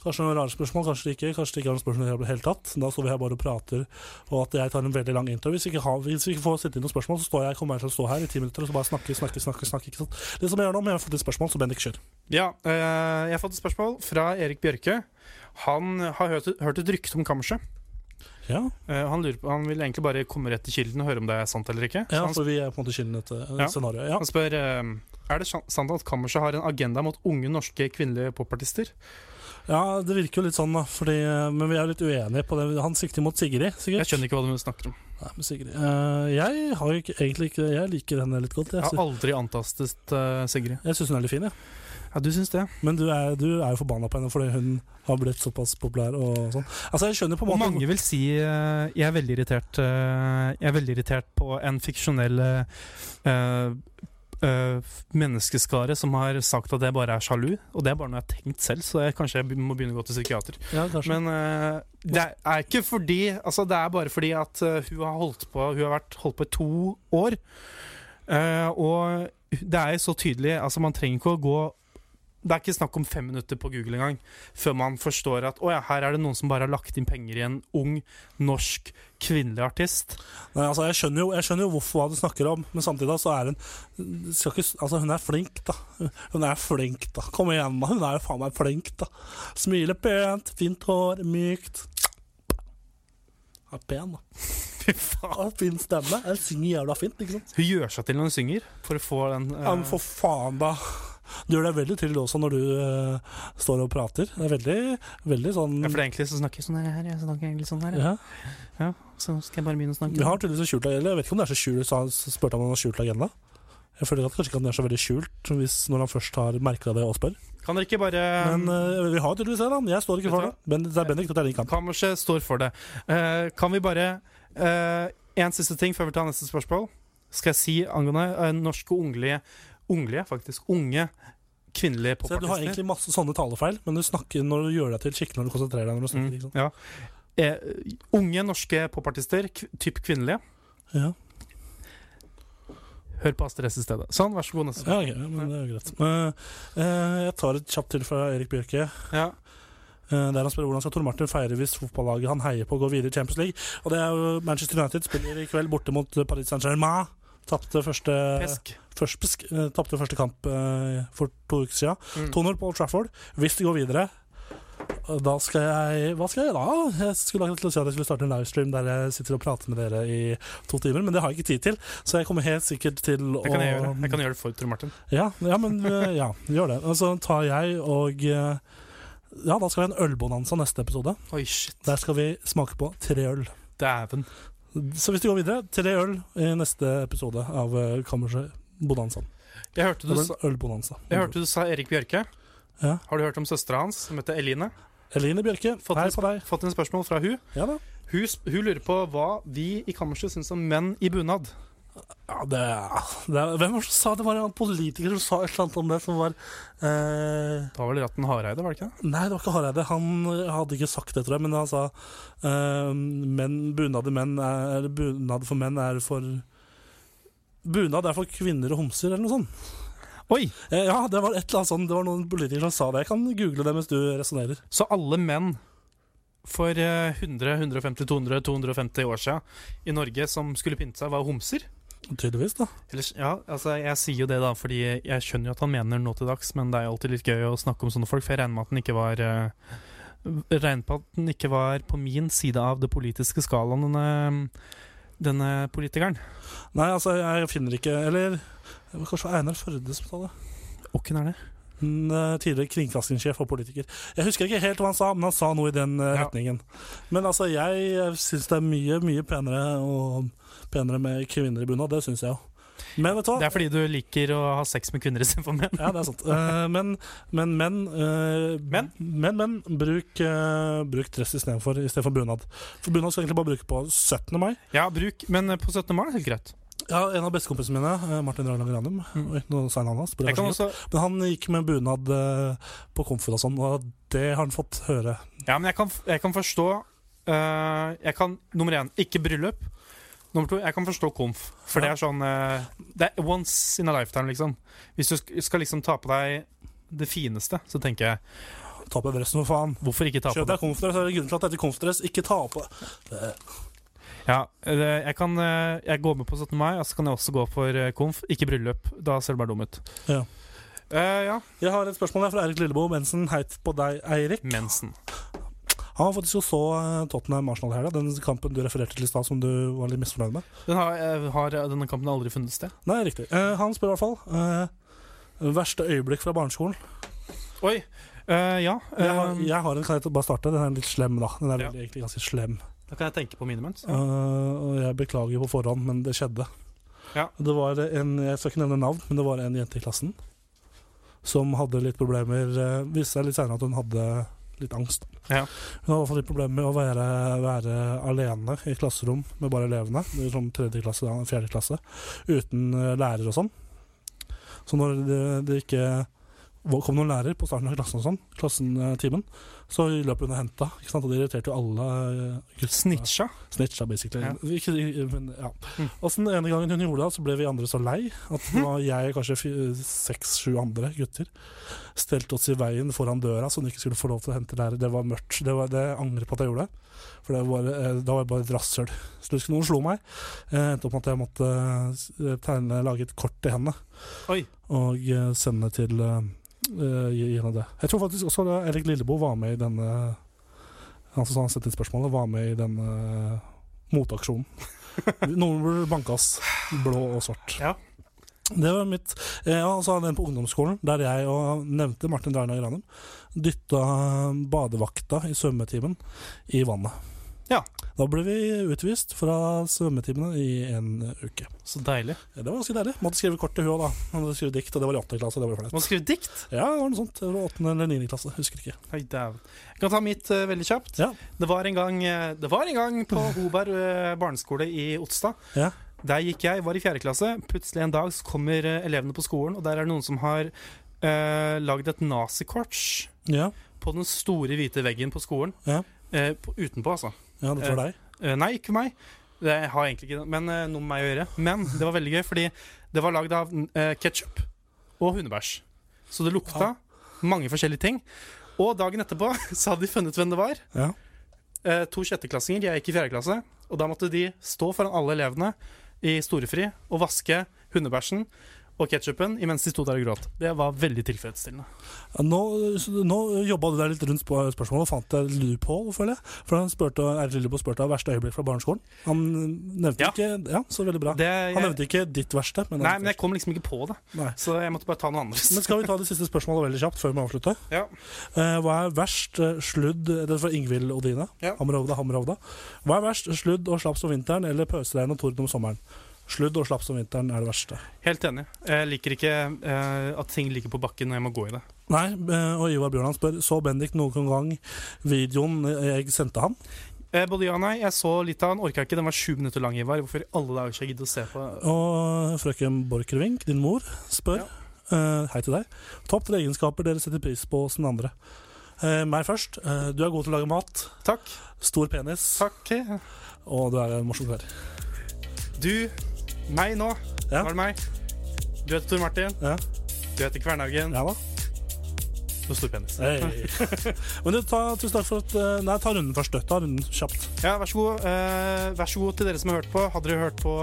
Speaker 5: Kanskje noen rare spørsmål, kanskje ikke. Kanskje det ikke er noen spørsmål i det hele tatt. Da står vi her bare og prater, og at jeg tar en veldig lang intro. Hvis vi ikke, har, hvis vi ikke får sendt inn noen spørsmål, så står jeg, kommer jeg til å stå her i ti minutter og så bare snakke, snakke, snakke. snakke ikke sant? Det som jeg gjør nå, men jeg har fått et spørsmål, så Bendik kjør.
Speaker 6: Ja, eh, jeg har fått et spørsmål fra Erik Bjørke. Han har hørt, hørt et rykte om kammerset.
Speaker 5: Ja,
Speaker 6: Eh, han, lurer på, han vil egentlig bare komme rett til kilden og høre om det er sant eller ikke. Så
Speaker 5: ja
Speaker 6: han,
Speaker 5: for vi er på en måte kilden etter
Speaker 6: Ja.
Speaker 5: ja. eh, scenarioet. Ja.
Speaker 6: han spør eh, er det sjan- sant at kammerset har en agenda mot unge norske kvinnelige popartister.
Speaker 5: ja, det virker jo litt sånn, da. Fordi, men vi er jo litt uenige på det. Han sikter mot Sigrid,
Speaker 6: Jeg
Speaker 5: sikkert.
Speaker 6: skjønner ikke hva du snakker om.
Speaker 5: Nei, men Sigrid Eh, Jeg har jo ikke, egentlig ikke Jeg liker henne litt godt.
Speaker 6: Jeg
Speaker 5: Jeg,
Speaker 6: har
Speaker 5: sy-
Speaker 6: aldri antastet eh, Sigrid.
Speaker 5: jeg syns hun er litt fin, jeg.
Speaker 6: Ja, du syns det?
Speaker 5: Men du er, du er jo forbanna på henne fordi hun har blitt såpass populær og sånn. Altså, jeg skjønner på en
Speaker 6: Og
Speaker 5: måte
Speaker 6: mange vil si eh, jeg, er veldig irritert, eh, jeg er veldig irritert på en fiksjonell eh, eh, menneskeskare som har sagt at jeg bare er sjalu. Og det er bare noe jeg har tenkt selv, så jeg, kanskje jeg be- må begynne å gå til psykiater.
Speaker 5: Ja, kanskje.
Speaker 6: Men eh, det er ikke fordi Altså, det er bare fordi at eh, hun har holdt på Hun har vært holdt på i to år. Eh, og det er så tydelig Altså, man trenger ikke å gå det er ikke snakk om fem minutter på Google engang før man forstår at å ja, her er det noen som bare har lagt inn penger i en ung, norsk, kvinnelig artist.
Speaker 5: Nei, altså, jeg skjønner jo, jeg skjønner jo hvorfor hva du snakker om, men samtidig da, så er hun skal ikke, s- Altså, hun er flink, da. Hun er flink, da. Kom igjen, da. Hun er jo faen meg flink, da. Smiler pent, fint hår, mykt. Er pen, da.
Speaker 6: Fy faen.
Speaker 5: Har fin stemme. Jeg synger jævla fint, ikke sant.
Speaker 6: Hun gjør seg til når hun synger, for å få den eh,
Speaker 5: Ja, men for faen, da. Du gjør deg veldig til også når du eh, står og prater. Det er veldig, veldig sånn
Speaker 6: Ja, for det er egentlig så snakker jeg sånn her, jeg snakker egentlig sånn her.
Speaker 5: ja.
Speaker 6: Så skal jeg bare begynne å snakke.
Speaker 5: Vi har tydeligvis en skjult agenda. Jeg vet ikke om det er så skjult, så han spurte om han har skjult agenda. Jeg føler at kanskje ikke at den er så veldig skjult hvis, når han først har merka det og spør.
Speaker 6: Kan dere ikke bare um,
Speaker 5: Men eh, vi har tydeligvis det, da. Jeg står ikke for det. Men det er Bendik, dette er din kamp.
Speaker 6: Kammerset står for det. Eh, kan vi bare eh, En siste ting før vi tar neste spørsmål. Skal jeg si angående eh, norske unglige Unglige, faktisk. Unge
Speaker 5: Se,
Speaker 6: kvinnelige
Speaker 5: du har
Speaker 6: popartister.
Speaker 5: egentlig masse sånne talefeil, men du snakker når du gjør deg til skikkelig når du konsentrerer deg. når du snakker,
Speaker 6: Mm,
Speaker 5: ikke sant?
Speaker 6: ja. Eh, unge norske popartister, kv typ kvinnelige.
Speaker 5: Ja.
Speaker 6: Hør på Astrid S i stedet. Sånn, vær så god. Neste.
Speaker 5: Ja, ok, ja, men det er jo greit. Men, eh, jeg tar et kjapt til fra Erik Bjørke.
Speaker 6: Ja.
Speaker 5: Eh, Der han spør hvordan skal Tor Martin feire hvis fotballaget han heier på, går videre i Champions League. Og det er jo Manchester United spiller i kveld borte mot Paris Saint-Germain. Tapte første
Speaker 6: Pesk.
Speaker 5: først, besk- eh, tapte første kamp eh, for to uker siden.
Speaker 6: Mm.
Speaker 5: 2-0 på Old Trafford. Hvis de går videre eh, da skal jeg Hva skal jeg da? Jeg skulle akkurat til å si at jeg skulle starte en livestream der jeg sitter og prater med dere i to timer, men det har jeg ikke tid til. Så jeg kommer helt sikkert til å
Speaker 6: Det kan jeg gjøre. Jeg kan gjøre det for Tor Martin.
Speaker 5: ja, ja, men eh, ja, gjør det. Og så tar jeg og eh, Ja, da skal vi ha en ølbonanza neste episode.
Speaker 6: Oi, shit.
Speaker 5: Der skal vi smake på tre øl.
Speaker 6: Dæven.
Speaker 5: Så hvis du går videre, tre øl i neste episode av eh, Kammerset Bonanzaen.
Speaker 6: Jeg hørte du
Speaker 5: Eller
Speaker 6: sa,
Speaker 5: Ølbonanza.
Speaker 6: jeg hørte du sa Erik Bjørke.
Speaker 5: Ja.
Speaker 6: Har du hørt om søstera hans, som heter Eline?
Speaker 5: Eline Bjørke,
Speaker 6: Fått
Speaker 5: hei
Speaker 6: en-
Speaker 5: på deg.
Speaker 6: Fått en spørsmål fra hun
Speaker 5: Ja da.
Speaker 6: Hun, sp- hun lurer på hva vi i kammerset syns om menn i bunad.
Speaker 5: Ja, det, det er, hvem var det som sa det? Var det en politiker som sa et eller annet om det, som var eh,
Speaker 6: Da var vel Ratten Hareide, var det ikke det?
Speaker 5: Nei, det var ikke Hareide. Han eh, hadde ikke sagt det, tror jeg, men han sa eh, menn, bunad, i menn er, bunad for menn er for Bunad er for kvinner og homser, eller noe sånt.
Speaker 6: Oi!
Speaker 5: Eh, ja, det var et eller annet sånt. Det var noen politikere som sa det. Jeg kan google det mens du resonnerer.
Speaker 6: Så alle menn for eh, 100, 150, 200, 250 år siden i Norge som skulle pynte seg, var homser?
Speaker 5: Tydeligvis, da.
Speaker 6: Eller, ja, altså Jeg sier jo det, da, fordi jeg skjønner jo at han mener nå til dags, men det er jo alltid litt gøy å snakke om sånne folk, for jeg regner med at den ikke var eh, Regner på at den ikke var på min side av det politiske skalaen, denne, denne politikeren.
Speaker 5: Nei, altså, jeg finner ikke Eller det var kanskje Einar Førde som sa det.
Speaker 6: Åkken er det?
Speaker 5: Mm, eh, Tidligere kringkastingssjef og politiker. Jeg husker ikke helt hva han sa, men han sa noe i den eh,
Speaker 6: Ja.
Speaker 5: retningen. Men altså, jeg syns det er mye, mye penere, og, penere med kvinner i bunad. Det syns jeg jo. Men vet du hva?
Speaker 6: Det er fordi du liker å ha sex med kvinner istedenfor menn.
Speaker 5: Ja, det er sant. Eh, men men menn eh,
Speaker 6: Men?
Speaker 5: men, men, bruk, eh, bruk dress istedenfor istedenfor bunad. For bunad skal jeg egentlig bare bruke på 17. mai.
Speaker 6: Ja, bruk, men eh, på 17. mai er det helt greit.
Speaker 5: Ja, En av bestekompisene mine, eh, Martin Ragnhild Granum
Speaker 6: Mm.
Speaker 5: Oi, nå sa jeg navnet hans. burde jeg
Speaker 6: Jeg kan
Speaker 5: kanskje
Speaker 6: også,
Speaker 5: Men han gikk med bunad eh, på komfort og sånn, og det har han fått høre.
Speaker 6: ja, men jeg kan, jeg kan forstå eh, Jeg kan, nummer én, ikke bryllup. Nummer to, jeg kan forstå komf. For det er sånn eh, Det er once in a lifetime, liksom. Hvis du sk- skal liksom ta på deg det fineste, så tenker jeg
Speaker 5: Ta på dressen, for faen.
Speaker 6: hvorfor ikke ta på
Speaker 5: Kjøp
Speaker 6: det?
Speaker 5: deg konfdress. Det er grunnen til at dette konfdress ikke ta på
Speaker 6: Ja, eh, jeg kan eh, Jeg går med på 17. mai, og så kan jeg også gå for eh, komf. Ikke bryllup. Da ser du bare dum ut.
Speaker 5: Ja.
Speaker 6: Eh, ja.
Speaker 5: Jeg har et spørsmål her fra Eirik Lillebo Mensen. Hei på deg, Eirik.
Speaker 6: Mensen.
Speaker 5: Han var faktisk og så eh, Tottenham Arsenal her, da. Den kampen du refererte til i stad som du var litt misfornøyd med.
Speaker 6: Den har, eh, har eh, denne kampen aldri funnet sted.
Speaker 5: Nei, riktig. Eh, han spør i hvert fall. Eh, verste øyeblikk fra barneskolen?
Speaker 6: Oi! eh, ja.
Speaker 5: Jeg har,
Speaker 6: eh,
Speaker 5: jeg har en, kan jeg bare starte? Den er litt slem, da. Den er
Speaker 6: Ja.
Speaker 5: egentlig ganske slem.
Speaker 6: Da kan jeg tenke på mine mens.
Speaker 5: Eh, og jeg beklager på forhånd, men det skjedde.
Speaker 6: Ja.
Speaker 5: Det var en, Jeg skal ikke nevne navn, men det var en jente i klassen som hadde litt problemer eh, Viste seg litt senere at hun hadde litt angst.
Speaker 6: Ja.
Speaker 5: Hun hadde i hvert fall litt problemer med å være, være alene i klasserom med bare elevene. det er Som tredje klasse, da, fjerde klasse. Uten eh, lærer og sånn. Så når det, det ikke var- kom noen lærer på starten av klassen, og sånn, klassen eh, timen, så løp hun og henta. ikke sant? Og det irriterte jo alle eh, guttene.
Speaker 6: Snitcha.
Speaker 5: Snitcha, basically.
Speaker 6: Ja.
Speaker 5: Ikke, men, ja.
Speaker 6: Mm.
Speaker 5: Og så den ene gangen hun gjorde det, så ble vi andre så lei at det var jeg og kanskje seks-sju andre gutter stelte oss i veien foran døra så hun ikke skulle få lov til å hente lærer. Det var mørkt. Det, var, det jeg angrer på at jeg gjorde. For det var, eh, da var jeg bare et rasshøl. Så husker noen slo meg. Jeg endte opp med at jeg måtte eh, tegne, lage et kort til henne
Speaker 6: Oi.
Speaker 5: og eh, sende til eh, eh, gi gi henne det. Jeg tror faktisk også da Erik Lilleboe var med i denne Han som han sendte inn spørsmålet, var med i denne motaksjonen. Noen burde banke oss blå og svart.
Speaker 6: Ja.
Speaker 5: Det var mitt eh, Og så hadde jeg en på ungdomsskolen, der jeg og nevnte Martin Dreina Granum dytta badevakta i svømmetimen i vannet.
Speaker 6: Ja.
Speaker 5: Da ble vi utvist fra svømmetimene i en uke.
Speaker 6: Så deilig.
Speaker 5: Ja, Det var ganske deilig. Måtte skrive kort til hun òg, da. Hun Måtte skrive dikt, og det var i åttende klasse. Det var jo flaut.
Speaker 6: Må skrive dikt!
Speaker 5: Ja, det var
Speaker 6: sånn.
Speaker 5: noe sånt. Det var åttende eller niende klasse. Husker ikke.
Speaker 6: Oi, dæven. Jeg kan ta mitt eh, veldig kjapt.
Speaker 5: Ja.
Speaker 6: Det, var en gang, eh, det var en gang på Hoberg eh, barneskole i Otstad.
Speaker 5: Ja.
Speaker 6: Der gikk jeg, var i fjerde klasse. Plutselig en dag så kommer eh, elevene på skolen, og der er det noen som har eh, lagd et nazikorts
Speaker 5: Ja,
Speaker 6: på den store, hvite veggen på skolen.
Speaker 5: Ja.
Speaker 6: Eh, på, utenpå, altså.
Speaker 5: ja dette var deg.
Speaker 6: Eh, nei, ikke meg. Det har egentlig ikke men, eh, noe med meg å gjøre. Men det var veldig gøy, fordi det var lagd av eh, ketsjup og hundebæsj. Så det lukta mange forskjellige ting. Og dagen etterpå så hadde de funnet hvem det var.
Speaker 5: Ja.
Speaker 6: Eh, to sjetteklassinger, jeg gikk i fjerde klasse. Og da måtte de stå foran alle elevene i storefri og vaske hundebæsjen og ketsjupen imens de sto der og gråt. Det var veldig tilfredsstillende.
Speaker 5: Ja, Nå, nå jobba du deg litt rundt sp- spørsmålet og fant deg loophole, føler jeg. For han spurte, Eirik Lilleboe spurte om verste øyeblikk fra barneskolen. Han nevnte
Speaker 6: Ja.
Speaker 5: ikke Ja, så veldig bra.
Speaker 6: Det,
Speaker 5: Han
Speaker 6: jeg,
Speaker 5: nevnte ikke ditt verste. Men,
Speaker 6: nei, men jeg kom liksom ikke på det,
Speaker 5: Nei.
Speaker 6: så jeg måtte bare ta noe annet.
Speaker 5: Men skal vi ta det siste spørsmålet veldig kjapt før vi avslutter?
Speaker 6: Ja.
Speaker 5: Eh, hva er verst eh, sludd Det er fra Ingvild Odine.
Speaker 6: Ja.
Speaker 5: Hammerovda, Hammerovda. Hva er verst, sludd og slaps om vinteren eller pøsregn og torden om sommeren? Sludd og slaps om vinteren er det verste.
Speaker 6: Helt enig. Jeg liker ikke eh, at ting ligger på bakken når jeg må gå i det.
Speaker 5: Nei, eh, og Ivar Bjørland spør Så Bendik noen gang videoen jeg sendte han?
Speaker 6: Eh, både ja og nei. Jeg så litt av den, orka ikke. Den var sju minutter lang, Ivar. Hvorfor i alle dager skal jeg gidde å se på
Speaker 5: Og frøken Borchgrevink, din mor, spør
Speaker 6: Ja.
Speaker 5: eh, Hei til deg. Topp tre egenskaper dere setter pris på hos den andre. Eh, meg først. Eh, du er god til å lage mat.
Speaker 6: Takk.
Speaker 5: Stor penis.
Speaker 6: Takk. eh,
Speaker 5: Og du er en morsom kar.
Speaker 6: Du. Meg nå.
Speaker 5: Ja.
Speaker 6: Nå er det meg. Du heter Tor Martin.
Speaker 5: Ja.
Speaker 6: Du heter Kvernhaugen.
Speaker 5: Ja da.
Speaker 6: Og stor penis.
Speaker 5: Hei. Men du, ta, tusen takk for at eh, Nei, ta runden først. du. Ta runden kjapt.
Speaker 6: Ja, vær så god. Eh, vær så god til dere som har hørt på. Hadde dere hørt på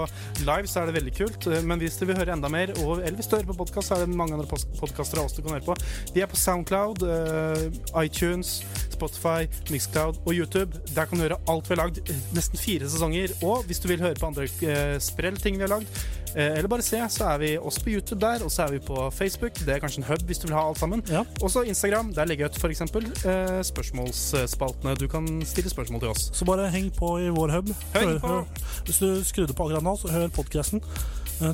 Speaker 6: live, så er det veldig kult. Eh, Men hvis dere vil høre enda mer, og, eller hvis dere hører på podkast, så er det mange andre podkaster av oss du kan høre på. De er på Soundcloud, eh, iTunes, Spotify, Mixcloud og YouTube. Der kan du høre alt vi har lagd. eh, Nesten fire sesonger. Og hvis du vil høre på andre eh, sprell ting vi har lagd, eh, eller bare se, så er vi også på YouTube der, og så er vi på Facebook. Det er kanskje en hub hvis du vil ha alt sammen.
Speaker 5: Ja.
Speaker 6: Også Instagram. Der legger jeg ut f.eks. Eh, spørsmålsspaltene. Du kan stille spørsmål til oss.
Speaker 5: Så bare heng på i vår hub.
Speaker 6: Heng på!
Speaker 5: hvis du skrudde på akkurat nå, så hør podkasten.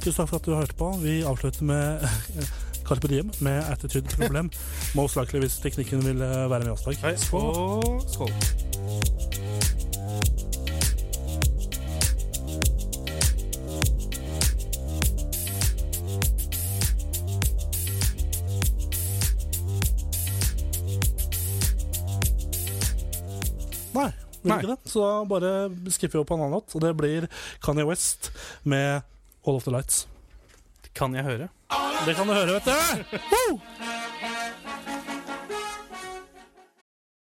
Speaker 5: tusen takk for at du hørte på. Vi avslutter med Carpe Diem med attitude problem. Most likely hvis teknikken vil eh, være med oss i
Speaker 6: Hei,
Speaker 5: dag. Skål.
Speaker 6: og skål.
Speaker 5: Nei. vil
Speaker 6: Nei.
Speaker 5: ikke det? Så da bare skipper vi opp på en annen låt, og det blir Kanye West med All of the Lights.
Speaker 6: Kan jeg høre?
Speaker 5: Det kan du høre, vet du! Woo!